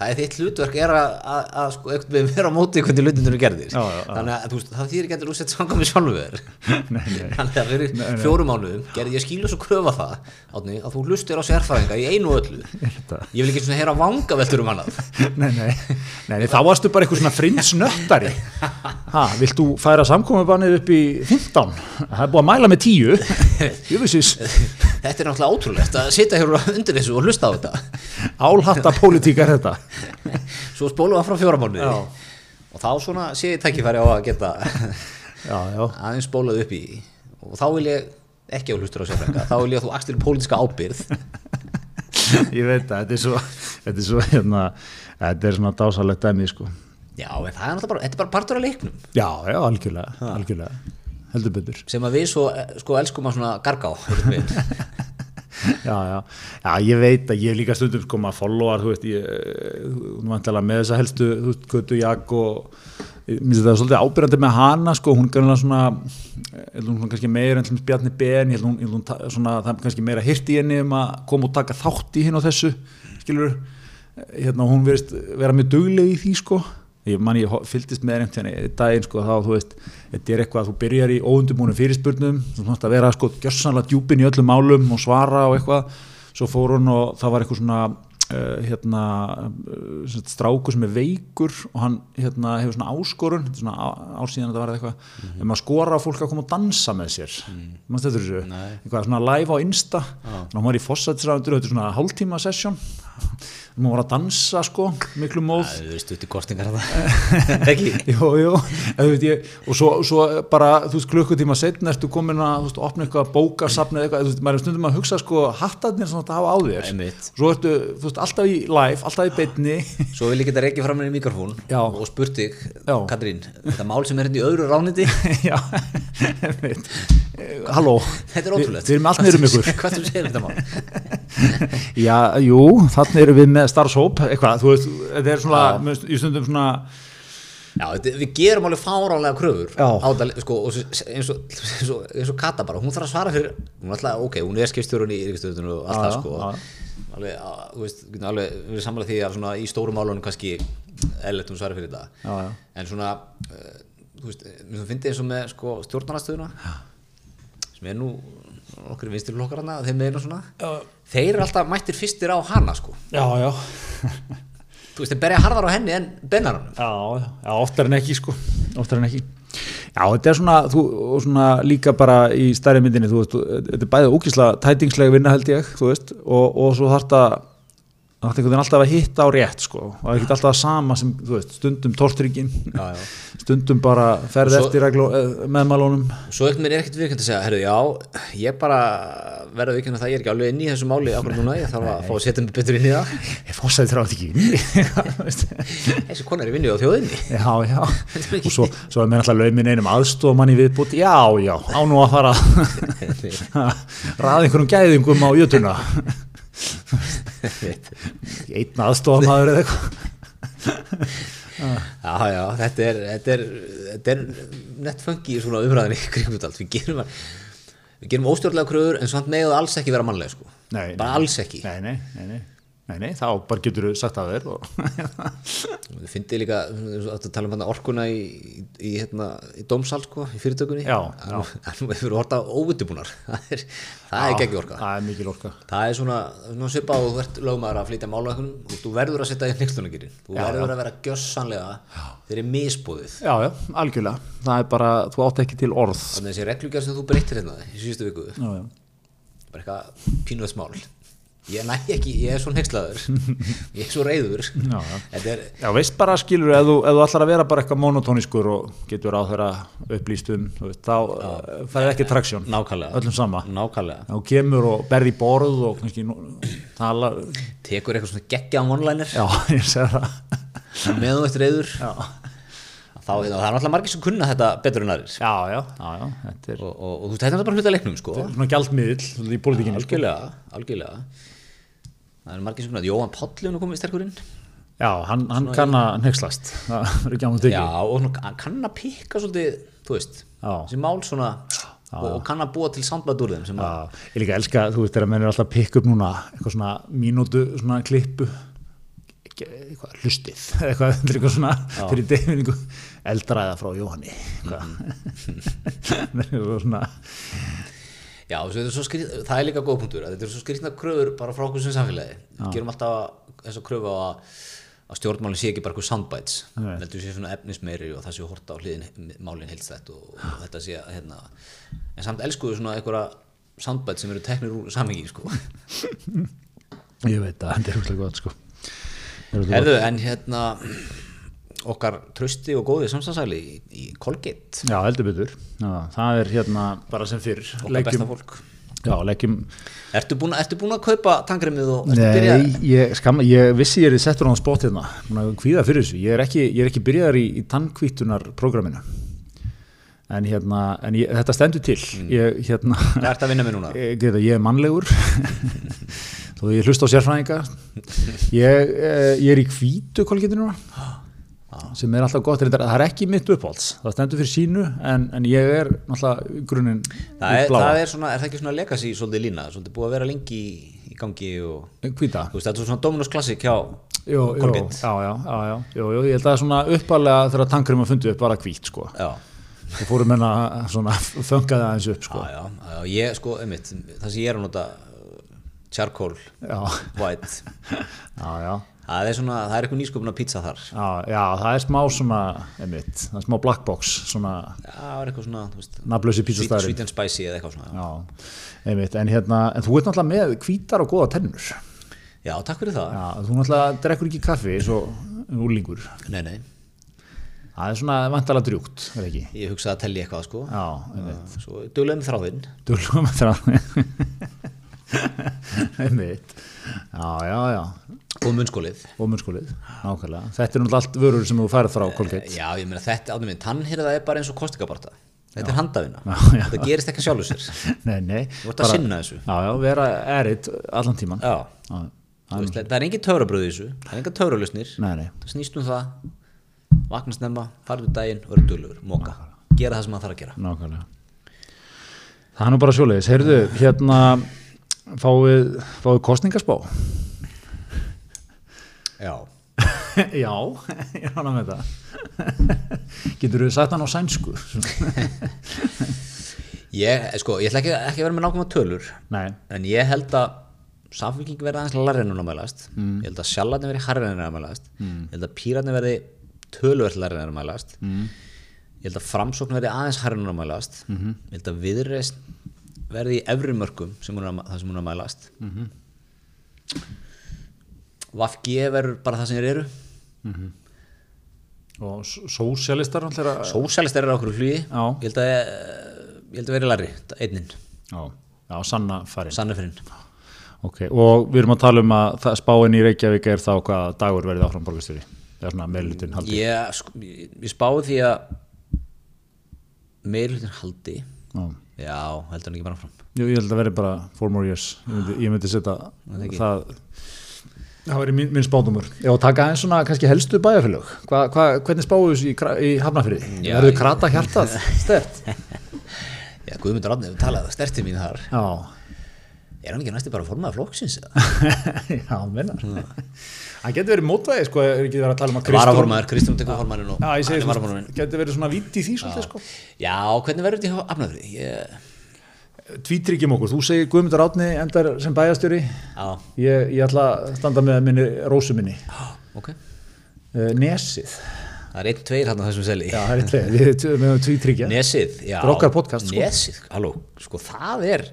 B: það er þitt hlutverk er að, að, að sko, eitthvað með vera á móti hvernig hlutindur eru gerðir
A: Já, já, já.
B: þannig að þú veist, það þýðir ekki að þú sett samkvæmi sjálfur þér þannig að fyrir fjórum mánuðum gerði ég skýlu svo kröfa það átni, að þú hlustir á sérfræðinga í einu og öllu ég vil ekki svona heyra vangaveltur um annað
A: nei, nei, nei, nei, þá varstu bara eitthvað svona frinsnöttari ha, vilt þú færa samkomubannið upp í 15? Það er búið að mæla með 10 jöfisins
B: þetta er náttúrulega ótrúlegt að sitja hér undir þessu og hlusta á þetta
A: álhatta pólitík er þetta
B: svo spólum við frá fjóramónuði
A: Já.
B: og þá svona sé ég tækifæri á að geta
A: já, já,
B: aðeins spólað upp í og þá vil ég ekki á hlustur á sérfræðinga þá vil ég að þú axtir pólitíska ábyrð
A: ég veit að þetta er svo þetta er svo, hérna, þetta er svona dásalegt dæmi, sko
B: já en það er náttúrulega bara, þetta er bara partur af leiknum
A: já, já, algjörlega, algjörlega heldur betur
B: sem að við svo eh, sko elskum að svona gargá einhvern veginn.
A: já, já, já, ég veit að ég hef líka stundum sko maður followar, þú veist ég, hún vantilega með þessa helstu þú veist, Götu Jakk og ég- mér finnst þetta svolítið ábyrjandi með hana sko, hún kannski svona, eh, ég held hún svona kannski meira en til dæmis Bjarni Ben, ég held hún, ég held hún ta- svona, það er kannski meira hirt í henni um að koma og taka þátt í hinn og þessu, skilur hérna hún verist vera mjög dugleg í því sko ég man ég ho- fylgdist með reynd hérna einn daginn sko þá þú veist þetta er eitthvað að þú byrjar í óundumúnum fyrirspurnum þú mátt að vera sko gjörsanlega djúpin í öllum málum og svara og eitthvað svo fór hún og það var eitthvað svona uh, hérna uh, stráku sem er veikur og hann hérna hefur svona áskorun þetta er svona á- ár síðan þetta var eða eitthvað mm -hmm. ef maður skora á fólk að koma og dansa með sér mm. mannst þetta þessu eitthvað svona live á Insta þannig að hún var í fósætisræðundur þetta er svona hálftíma session hún var að dansa sko miklu móð
B: það eru stutt í kostingar að það ekki
A: Jú, jú, en þú veit ég, og svo, svo bara, þú veist, klukkutíma setna ertu komin að, þú veist, opna eitthvað bókasafni eða eitthvað, þú veist, maður er stundum að hugsa, sko, hattarnir svona að hafa á þér.
B: Einmitt.
A: Svo ertu, þú veist, alltaf í live, alltaf í beinni.
B: svo vil ég geta reikið fram henni í mikrofón
A: Já.
B: og spurt þig
A: Já.
B: Katrín, þetta mál sem er henni í öðru rániti
A: Já, einmitt. Halló.
B: þetta er
A: Við,
B: ótrúlegt
A: við erum allt niður um ykkur.
B: hvað þú segir um þetta mál
A: Já, jú, þannig erum við með starfshóp, eitthvað, þú veist, þetta er svona, mér finnst- í stundum svona,
B: Já, þetta- við gerum alveg fárálega kröfur
A: Já.
B: á þetta, sko, og s- eins og, eins, og, eins og Kata bara, hún þarf að svara fyrir hún er alltaf, ok, hún er skipstjórun í ríkistöðunum og allt
A: Já,
B: það,
A: já,
B: sko
A: já.
B: alveg, á- þú veist, getum alveg, við erum samanlega því að svona í stórum málunum kannski eðlert hún svara fyrir þetta
A: Já, já.
B: en svona, uh, þú veist mér finnst eins og með, sko, stjórnarastöðuna sem er nú okkur vinstir flokkar hana, þeim meðinu svona
A: Já.
B: þeir eru alltaf mættir fyrstir á hana, sko
A: já, já,
B: þú veist, þeir berja harðar á henni en bennar hann
A: Já, já, oftar en ekki sko, oftar en ekki. Já, þetta er svona, þú, og svona líka bara í stærri myndinni, þú veist, þú- þetta er bæðið ókísla tætingslega vinna held ég, þú veist, og, og svo þarf þetta það ætti einhvern veginn alltaf að hitta á rétt sko. og það er ekki alltaf að sama sem þú veist, stundum tortryggin
B: Já, já.
A: stundum bara ferð
B: Og svo-
A: eftir regló, eh, meðmælunum
B: Svo ekkert mér er ekkert viðkjönd að segja, herru, já, ég bara verða viðkjönd að það, ég er ekki alveg inn í þessu máli akkur núna, ég þarf að fá að setja mig betur inn í það.
A: ég fórsæði þrjátt ekki inni.
B: Þessi kona er í vinnu á þjóðinni.
A: já, já og svo, svo er mér alltaf laumin einum aðstofamanni viðbútt, já, já, á nú að fara ræða einhverjum gæðingum á jötuna einn aðstofamaður eða eitthvað
B: Já, já, þetta er, þetta er, þetta er nettfangi í svona umræðinni í kringum þetta allt. Við gerum, við gerum óstjórnlega kröður en samt megið alls ekki vera mannlega, sko.
A: Nei, nei.
B: Bara alls ekki.
A: nei, nei, nei, nei, nei, nei þá bara getur þú sagt að þér og
B: Við fyndið líka, þetta tala um hérna orkuna í, í, í, hérna, í dómsal, sko, í fyrirtökunni.
A: Já, já.
B: Nú hefur horta óvitubúnar. Það er, það er ekki orka.
A: það er mikil orka
B: Það er svona, svona svipa og þú ert lögmaður að flytja mála og þú verður að setja þér nýkstunagýrin þú verður að vera gjössanlega þeirri misbúðið
A: Já, já, algjörlega. Það er bara, þú átt ekki til orð.
B: þannig að þessi reglugjör sem þú breytir hérna í síðustu viku,
A: Já, já.
B: bara eitthvað pínuðs mál ég næ ekki, ég er svo nýkslaður ég er svo reyður
A: Já, já.
B: þetta er,
A: Já, veist bara skilur, ef þú, ef þú ætlar að vera bara eitthvað monotóniskur og getur á þeirra upplýstum, þú veist, þá eh, færði ekki traksjón.
B: nákvæmlega
A: Öllum sama.
B: nákvæmlega,
A: Þú kemur og berði í borð og kannski nú- tala,
B: tekur eitthvað svona geggjaðan vonlænir
A: já, ég segi það.
B: meðan þú ert reyður þá,
A: Já,
B: þá það er náttúrulega margir sem kunna þetta betur en aðrir
A: já, já, já, já þetta er
B: og, og, og þú veist, þetta er bara hluta leiknum sko.
A: svona gjaldmiðill svolítið í pólitíkinni. sko.
B: algjörlega, algjörlega það er margir sem kunna, Jóhann Páll er nú komið sterkur inn
A: Já, hann, hann kann að nexlast, það er ekki án að
B: já,
A: tekið.
B: og svona- hann kann að pikka svolítið, þú veist
A: Já.
B: þessi mál svona og, og kann að búa til samband úr þeim sem að,
A: Já, ég líka elska, þú veist, þegar menn er alltaf að pikka upp núna eitthvað svona mínútu, svona klippu ekki- eitthvað hlustið eða eitthvað, þetta er eitthvað svona fyrir deyfingu eldræða frá Jóhanni eitthvað Það er eitthvað svona,
B: já, þessi, þetta er svo skrýt, það er líka góð punktur, að þetta er svo skrýtna kröfur bara frá okkur sem samfélagi, við gerum alltaf þess að kröfu á að að stjórnmálinn sé ekki bara eitthvað soundbites
A: Nei.
B: heldur sé svona efnismeiri og það sé horta á hliðin málinn heilst þetta og, og þetta sé að hérna, en samt elskuðu svona einhverja soundbites sem eru teknir úr samhengi sko.
A: ég veit að þetta er eitthvað gott sko Þetta er ótrúlega
B: Herðu, en hérna okkar trösti og góði samstagsæli í, í Colgate
A: gott. Já, heldur betur, Já, það er hérna bara sem fyrir,
B: okkar besta fólk
A: já, leggjum
B: Ertu búin, ertu búin að kaupa tangremið og ertu byrjað?
A: Nei, ég, skamma, ég vissi ég er settur á hann spott hérna, Búinn að kvíða fyrir þessu, ég er ekki, ég er ekki byrjaðar í, í tannkvítunarprogramminu en hérna, en ég, þetta stendur til, ég hérna,
B: Hvað Mm. ertu að vinna með núna?
A: ég, ég, ég er mannlegur, þó ég hlusta á sérfræðinga, ég, eh, ég er í kvítu kolgetinu núna,
B: Ah.
A: sem er alltaf gott, reyndar, það er ekki mitt uppáhalds, það stendur fyrir sínu, en, en ég er náttúrulega grunin
B: Það er, það er, svona, er það ekki svona legacy svolítið lína, svolítið búið að vera lengi í, í gangi og
A: Hvíta.
B: þú veist, þetta er svona Dominos Classic hjá
A: Jó, jó, já,
B: Colgate
A: já, já, já, jó, jó, ég held að það er svona uppalega þegar tankurum að fundi upp bara hvít sko
B: Já,
A: og fórum henn að svona fönga það aðeins upp
B: já,
A: sko
B: já, já, ég sko, einmitt, það sem ég er að nota uh, charcoal,
A: já,
B: white
A: já, já,
B: það er svona, það er eitthvað nýsköpun að pizza þar
A: já, já, það er smá svona, einmitt, það er smá black box svona
B: Já, það er eitthvað svona, þú veist
A: nafnlösi
B: sweet,
A: pítsastæri
B: sweet and spicy eða eitthvað svona
A: Já, einmitt, en hérna, en þú ert náttúrulega með hvítar og góða tennur Já,
B: Já, takk fyrir það.
A: þú náttúrulega drekkur ekki kaffi svo úlingur
B: Nei, nei,
A: Það er svona vantalega drjúgt, er ekki?
B: ég hugsaði að telli eitthvað sko.
A: Já, einmitt
B: Svo duglega með þráðinn.
A: Dölum að þráði Einmitt Já, já, já
B: Og munnskólið.
A: Og munnskólið, nákvæmlega Þetta er náttúrulega allt vörur sem þú færð frá Colgate
B: Já, ég meina þetta, áttu minn, tannhyrða er bara eins og kostikabarta. Þetta er handavina.
A: Já, já.
B: Þetta gerist ekki sjálfur sér.
A: Nei, nei
B: Þú ert að sinna þessu.
A: Já, já, vera eritt allan tíman
B: Já,
A: Já,
B: þú veist, það er engin töfrabröð í þessu. Það er engin töfralusnir.
A: nei, nei
B: Það snýst um það, vakna snemma, farðu um daginn, vera duglegur, móka. Gera það sem maður þarf að gera.
A: Nákvæmlega Það er nú bara svoleiðis, heyrðu, hérna fáið, fáið kostningaspá
B: Já.
A: Já, ég rána með það Getur þú sagt hann á sænsku?
B: Ég, sko, ég ætla ekki, ekki að vera með nákvæmna tölur.
A: Nei,
B: En ég held að samfélking verði aðeins larri en hún ámælast mm. ég held að sjallarni verði harri en hún ámælast mm. ég held að pírarni verði töluvert larri en hún ámælast mm. ég held að framsókn verði aðeins harri en hún ámælast mm. ég held að viðreist Mm-hmm. verði í efri mörgum sem hún, er að- það sem hún ámælast mm. Vafgi verður bara það sem þeir eru
A: og s- sósíalistar náttúrulega að-
B: Sósalistar eru okkur flugi
A: Já.
B: Ég held að eh, ég held að vera larri, einnin,
A: já, já, sanna farin
B: sannafyrinn
A: ok, og við erum að tala um að það- spáin í Reykjavík er þá hvað dagur verði áfram borgarstjóri það er svona meðlutin haldi
B: ég, sko, ég, ég spáði því að meirhlutin haldi
A: já.
B: Já, heldur hann ekki bara fram
A: Jú, ég held að verði bara four more years ég myndi, ég myndi setja það það verði mín, minn spátumur ef að taka eins svona kannski helstu bæjarfélög hva, hva, hvernig spáðu þessu í, Kra- í hafnafyrði
B: Já,
A: verður
B: ég-
A: krata hjartað stert
B: Já, Guðmundur Árni, við talaði það sterti mín þar
A: já,
B: Er hann ekki næstu bara formaði flokksins? eða?
A: já, hann minnar það getur verið mótvæði sko, er ekki verið að tala um að
B: Varaformaður, Kristján tekur formaðurinn og
A: já, ég segi
B: hann er
A: svona,
B: varaformaðurinn
A: getur verið svona vitt í því svolítið sko
B: Já, hvernig verður þetta í afnafrið? Ég,
A: tvítryggjum okkur, þú segir Guðmundur Átni endar sem bæjarstjóri
B: já,
A: ég, ég ætla að standa með minni rósu minni
B: ok
A: Eh, Nesið,
B: Það er einn, tveir hann á þessum seli
A: já, það er tveið við höfum tvítryggja
B: Nesið, já
A: Þetta er okkar podcast, sko.
B: Nesið, halló, sko það er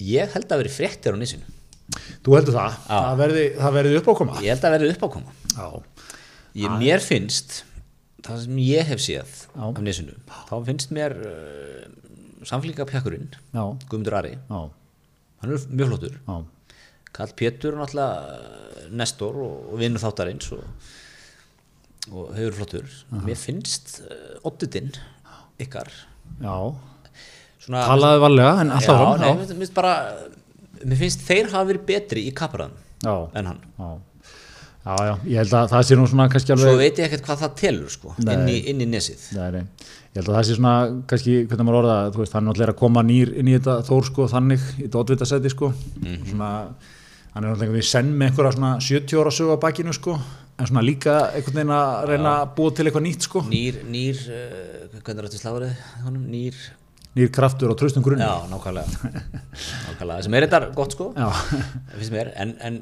B: Ég held að verði fréttir á nesinu
A: Þú heldur það? Það verði, það verði uppákoma?
B: Ég held að verði uppákoma
A: Já.
B: ég, Mér finnst Það sem ég hef séð
A: Já.
B: af nesinu Þá finnst mér uh, Samflíka pjakkurinn
A: Já.
B: Guðmundur Ari,
A: Já.
B: hann er mjög flottur
A: Já.
B: Karl Pétur er náttúrulega eh, Nestor og, og vinnur þáttarins og, og hefur flottur Mér finnst uh, oddutinn ykkar
A: Já.
B: svona,
A: Talaðu varlega, en
B: já,
A: alltaf
B: nei,
A: fram.
B: mér, finnst bara, mér finnst þeir hafa verið betri í kapraðan
A: Já. Já.
B: en hann
A: Já. Já, já. Ég held að það sé nú svona kannski
B: svo
A: alveg...
B: veit ég ekkert hvað það telur sko, inn, í, inn í nesið
A: Nei, nei. Ég held að það sé svona kannski, hvernig maður orða, það, þú veist, hann náttúrulega er að koma nýr inn í þetta þór, sko, þannig, í þetta oddvitasæti, sko.
B: Mhm.
A: Svona, hann er náttúrulega einhvern veginn senn með einhverja svona 70 ára sögu á bakinu, sko, en svona líka einhvern veginn að reyna að búa til eitthvað nýtt, sko.
B: nýr, nýr uh, hvernig er þetta slagurðið honum, nýr
A: Nýr kraftur á tröstum grunni.
B: já, nákvæmlega, nákvæmlega. sem er þetta gott sko
A: Já.
B: Það finnst mér, en, en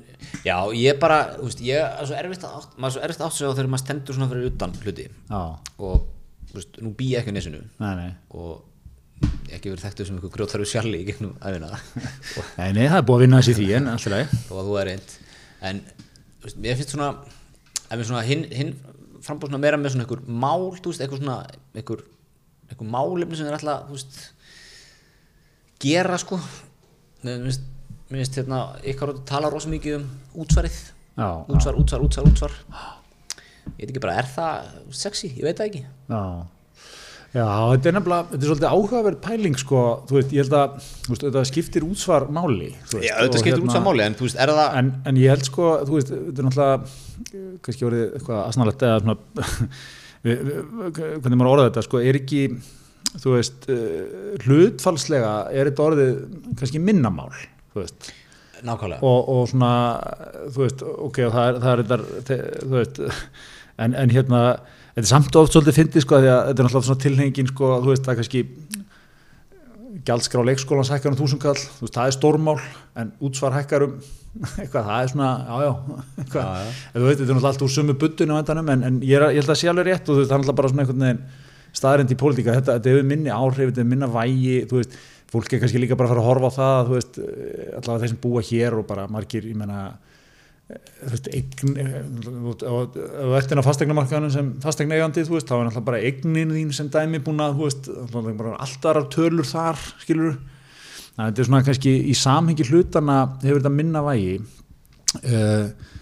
B: já, ég bara, þú veist, ég er svo erfitt að átt, maður er svo erfitt að átt sig á þegar maður stendur svona fyrir utan hluti
A: Já.
B: og, þú veist, nú bý ég ekki á nesinu
A: Nei, nei.
B: og ég hef ekki verið þekktu sem einhver grjótarfi sjalli í gegnum æfina og
A: Nei, nei, það er búið að vinna þessi í því, en alltaf leið.
B: þó að þú er reynd en, þú veist, mér finnst svona ef mér svona hinn hin frambúð svona meira með svona einhver mál, þú veist, einhver svona einhver, einhver málefni sem er alltaf, þú veist gera, sko mér finnst, mér finnst hérna, ykkar átt að tala rosa mikið um útsvarið
A: Já,
B: útsvar, útsvar, útsvar, útsvar ég veit ekki bara, er það sexy, ég veit það ekki
A: Já, já þetta er nefnilega, þetta er svolítið áhugaverð pæling sko, þú veist, ég held að þú veist, þetta skiptir útsvar máli þú veist, og hérna-
B: máli, en þú veist, er það
A: En, en ég held sko, þú veist, þetta er náttúrulega eh, kannski orðið eitthvað asnalegt eða svona, við- við- hvernig maður orðað þetta, sko, er ekki þú veist, eh, hlutfalslega er þetta orðið kannski minnamál, þú veist
B: nákvæmlega
A: og, og svona þú veist, ok, og það er, það er þetta, þe- þú veist en, en hérna, þetta er samt oft svolítið fyndið sko, því að þetta er náttúrulega svona tilhengin sko, þú veist, það er kannski gjaldskrá leikskólan hækkar um þúsund kall þú veist, það er stórmál, en útsvar hækkar um eitthvað, það er svona, jájá eitthvað,
B: Já, já.
A: En þú veit, þetta er náttúrulega allt úr sömu buddunum á endanum, en, en ég, er, að- ég held að það sé alveg rétt og þú veist, það er náttúrulega bara svona einhvern veginn staðrind í pólitíka, þetta, þetta hefur minni áhrif þetta hefur minna vægi, þú veist, fólk er kannski líka bara að fara að horfa á það, þú veist eh, allavega þeir sem búa hér og bara margir, ég menna þú veist, eign eh, þú veist, ef þú ert inn á fastegnamarkaðanum sem fastegneigandi, þú veist, þá er náttúrulega bara eignin þín sem dæmi búin að, þú veist náttúrulega bara allt aðrar tölur þar, skilur þannig að þetta er svona kannski í samhengi hlutana hefur þetta minna vægi uh,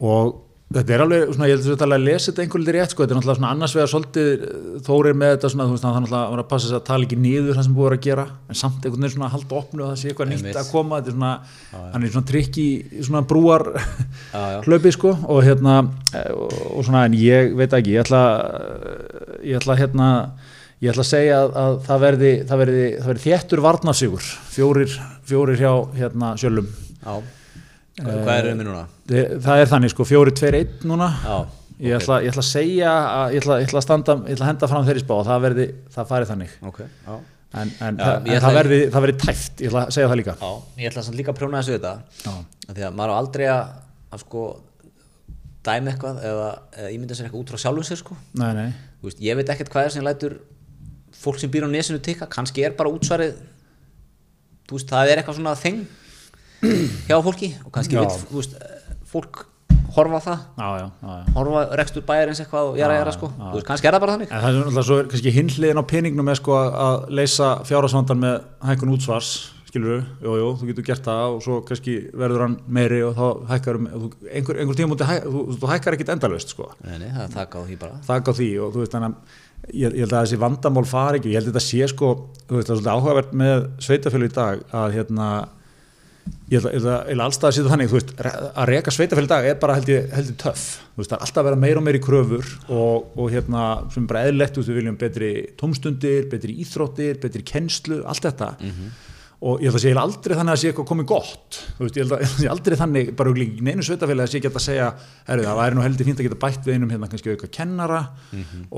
A: og þetta er alveg, svona, ég heldur þetta alveg að lesa þetta einhverjum rétt, sko, þetta er náttúrulega svona annars vegar svolítið eh, Þórir með þetta svona, þú veist, hann þarf náttúrulega að vera að passa sig að tala ekki niður það sem búið er að gera, en samt einhvern veginn svona að halda opnu og það sé eitthvað
B: Einmitt.
A: nýtt að koma, þetta er svona, hann er í svona trikk í svona brúar
B: Já, já.
A: hlaupi, sko, og hérna eh, og, og svona, en ég veit ekki, ég ætla ég ætla hérna ég ætla að segja að, að það verði það verði, það verði þéttur varnasigur fjórir, fjórir hjá hérna sjölum
B: já. hvað er við núna?
A: Þe- það er þannig sko, fjórir, tveir, einn núna
B: Já,
A: ég, ætla, ég ætla að segja að, ég, ætla, ég ætla að standa, ég ætla að henda fram þeirri spá og það verði, það fari þannig
B: ok, já
A: en, en,
B: Já,
A: það,
B: ég
A: en
B: ætla-
A: það verði, það verði tæft ég ætla að segja það líka
B: Já, ég ætla samt líka að prjóna þessu þetta
A: Já.
B: Af því að maður á aldrei að, að sko dæmi eitthvað eða, eða ímynda sér eitthvað út frá sjálfum sér sko
A: nei, nei,
B: Þú veist, ég veit ekkert hvað er sem lætur fólk sem býr á nesinu tikka, kannski er bara útsvarið þú veist, það er eitthvað svona þeng hjá fólki og kannski
A: Já.
B: vil, þú veist, eh, fólk horfa á það
A: já, já, já, já.
B: horfa rekstur bæjarins eitthvað og jara jara sko þú veist, kannski er það bara þannig
A: En það er alltaf svo er kannski hinliðin á peningnum með sko að- að leysa fjárhagsvandan með hækkun útsvars, skilur við, jú, jú, þú getur gert það og svo kannski verður hann meiri og þá hækkar, um- þú- einhver, einhver tíma múti, hæ, þú, þú hækkar ekkit endalaust sko.
B: nei, nei, það er taka á því bara
A: þakka á því og þú veist þannig að ég, ég held að þessi vandamál fari ekki ég held að þetta sé sko, þú veist það er svolítið áhugavert með sveitafjölu í dag að hérna ég held að, ég held að, ég held að allstað að sýta þannig þú veist, re- að reka sveitafjölu í dag er bara held ég, held ég töff, þú veist það er alltaf að vera meira og meira í kröfur og, og hérna sem er bara eðlilegt, þú veist, við viljum betri tómstundir, betri íþróttir, betri kennslu allt þetta og ég held að sé ég aldrei þannig að sé eitthvað komið gott þú veist, ég held að ég held að sé aldrei þannig bara í neinu sveitafélagi að sé ekki hægt að segja herri, það væri nú heldur fínt að geta bætt við einum hérna kannski auka kennara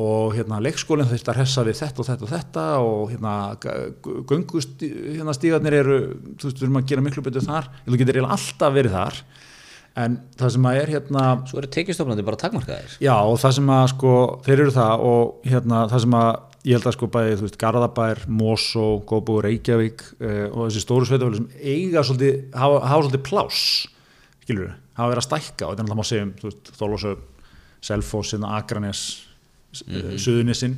A: og hérna leikskólinn þurft að hressa við þetta og þetta og þetta og hérna göngust hérna stígarnir eru þú veist, við erum að gera miklu betur þar ég held að getur eiginlega alltaf verið þar en það sem að er hérna
B: svo eru tekjustofnandi bara takmarkaðir
A: Já og það sem að sko þeir eru það og hérna það sem að ég held að sko bæði þú veist Garðabær, Mosó, Góbú, Reykjavík eh, og þessi stóru sveitafélag sem eiga svolítið, hafa, hafa svolítið pláss skilur við, hafa verið að stækka og þetta er náttúrulega má segja um þú veist Þólasöf, Selfoss, hérna, Akranes mm -hmm. Suðunissin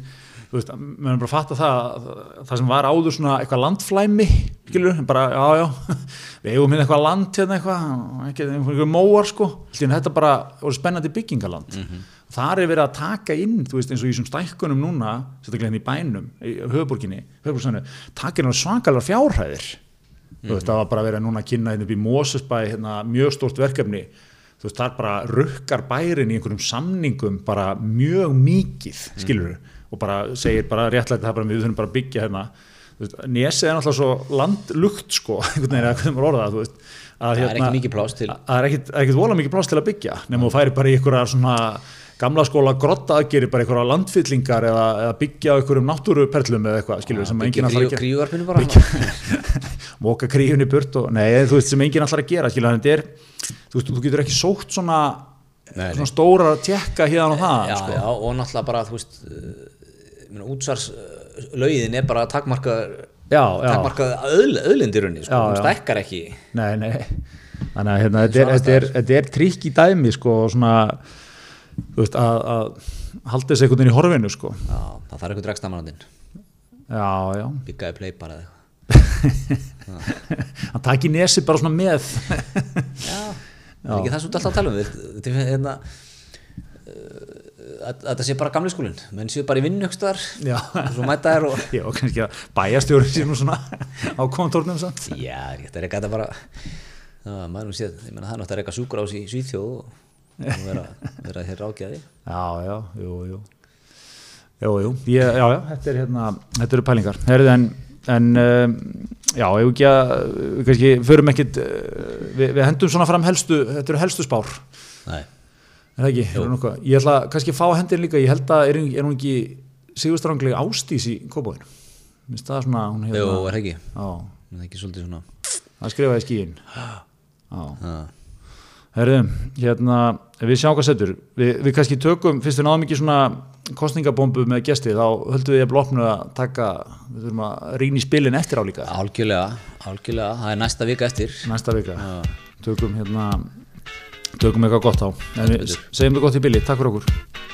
A: þú veist, maður bara fatta það að það sem var áður svona eitthvað landflæmi skilur, við, bara já já við eigum hérna eitthvað land hérna eitthvað ekki einhverjum móar sko, Allt í einu þetta bara voru spennandi byggingaland þar er verið að taka inn, þú veist, eins og í þessum stækkunum núna, sérstaklega hérna í bænum í höfuborginni, höfuborgsvæðinu taka inn alveg svakalega fjárhæðir þú veist, það var bara verið núna að kynna hérna upp í Mosesbæ hérna mjög stórt verkefni þú veist, þar bara rukkar bærin í einhverjum samningum bara mjög mikið,
B: Mm.
A: skilur og bara segir bara réttlæti það bara við þurfum bara að byggja hérna Þú veist, Nesið er náttúrulega svo landlukt sko, einhvern veginn eða hvernig maður orða það, þú veist að,
B: það er ekki mikið pláss til
A: að- það er ekkit, ekkit vola mikið pláss til að byggja nema þú færi bara í einhverja svona gamla skóla grotta aðgeri bara einhverja landfyllingar eða, eða byggja á einhverjum náttúruperlum eða eitthvað, skilur, sem enginn ætlar að gera
B: gríugarfinu bara hann-
A: móka kríunni burt og nei, þú veist sem enginn allar að gera skilja, þetta er, þú, veist, þú getur ekki sótt svona,
B: Nei, nei.
A: svona stóra tjekka hérna og það
B: já,
A: sko.
B: já, og náttúrulega bara þú veist eh, útsvarslauðin eh, er bara takmarkað
A: já, já,
B: takmarkað öðl, öðlindirunni sko,
A: Já,
B: hún
A: já.
B: stækkar ekki
A: nei, nei þannig að hérna, þetta, er, þetta, er, þetta er trikk í dæmi sko, og svona þú veist, að, að halda þessi einhvern veginn í horfinu sko.
B: já, það þarf eitthvað dregstamanandinn
A: já, já
B: byggjaði play bara eða eitthvað
A: hann taki nesi bara svona með
B: já, já. ekki það sem þú ert alltaf að tala um þetta- þetta er hérna uh, að að þetta sé bara gamli skólinn menn séu bara í vinnu ykkur staðar
A: já,
B: svo mæta þær og
A: já, kannski að bæjastjóri sér nú svona á kontórnum samt
B: já, þetta er ekki þetta bara Já, maður sé, ég meina það er náttúrulega eitthvað sjúkur á í Svíþjóð og, og vera, vera þér rákjaði.
A: Já, já, jú, jú Jú, jú, ég, já, já, þetta er hérna þetta eru pælingar, herðu en en, um, já, ef ekki að við kannski, förum ekkit uh, við, við hendum svona fram helstu, þetta eru helstu spár er
B: Nei,
A: það ekki, er nokkuð, ég ætla kannski að fá hendin líka, ég held að er, hún- er hún ekki sigurstranglega ástís í kópáinu minnst það svona, hún
B: jú,
A: hefur
B: er það ekki.
A: já,
B: Það er ekki svolítið svona.
A: það skrifaði skíin já
B: Ha.
A: Herðum, hérna, við sjáum hvað setur við, við kannski tökum, fyrst við náðum ekki svona kostningabombu með gesti þá höldum við að blokna að taka við þurfum að rýna í spilin eftir á líka
B: Algjörlega, algjörlega, það er næsta vika eftir.
A: næsta vika, tökum hérna tökum eitthvað gott á en við segjum þetta gott í bili, takk fyrir okkur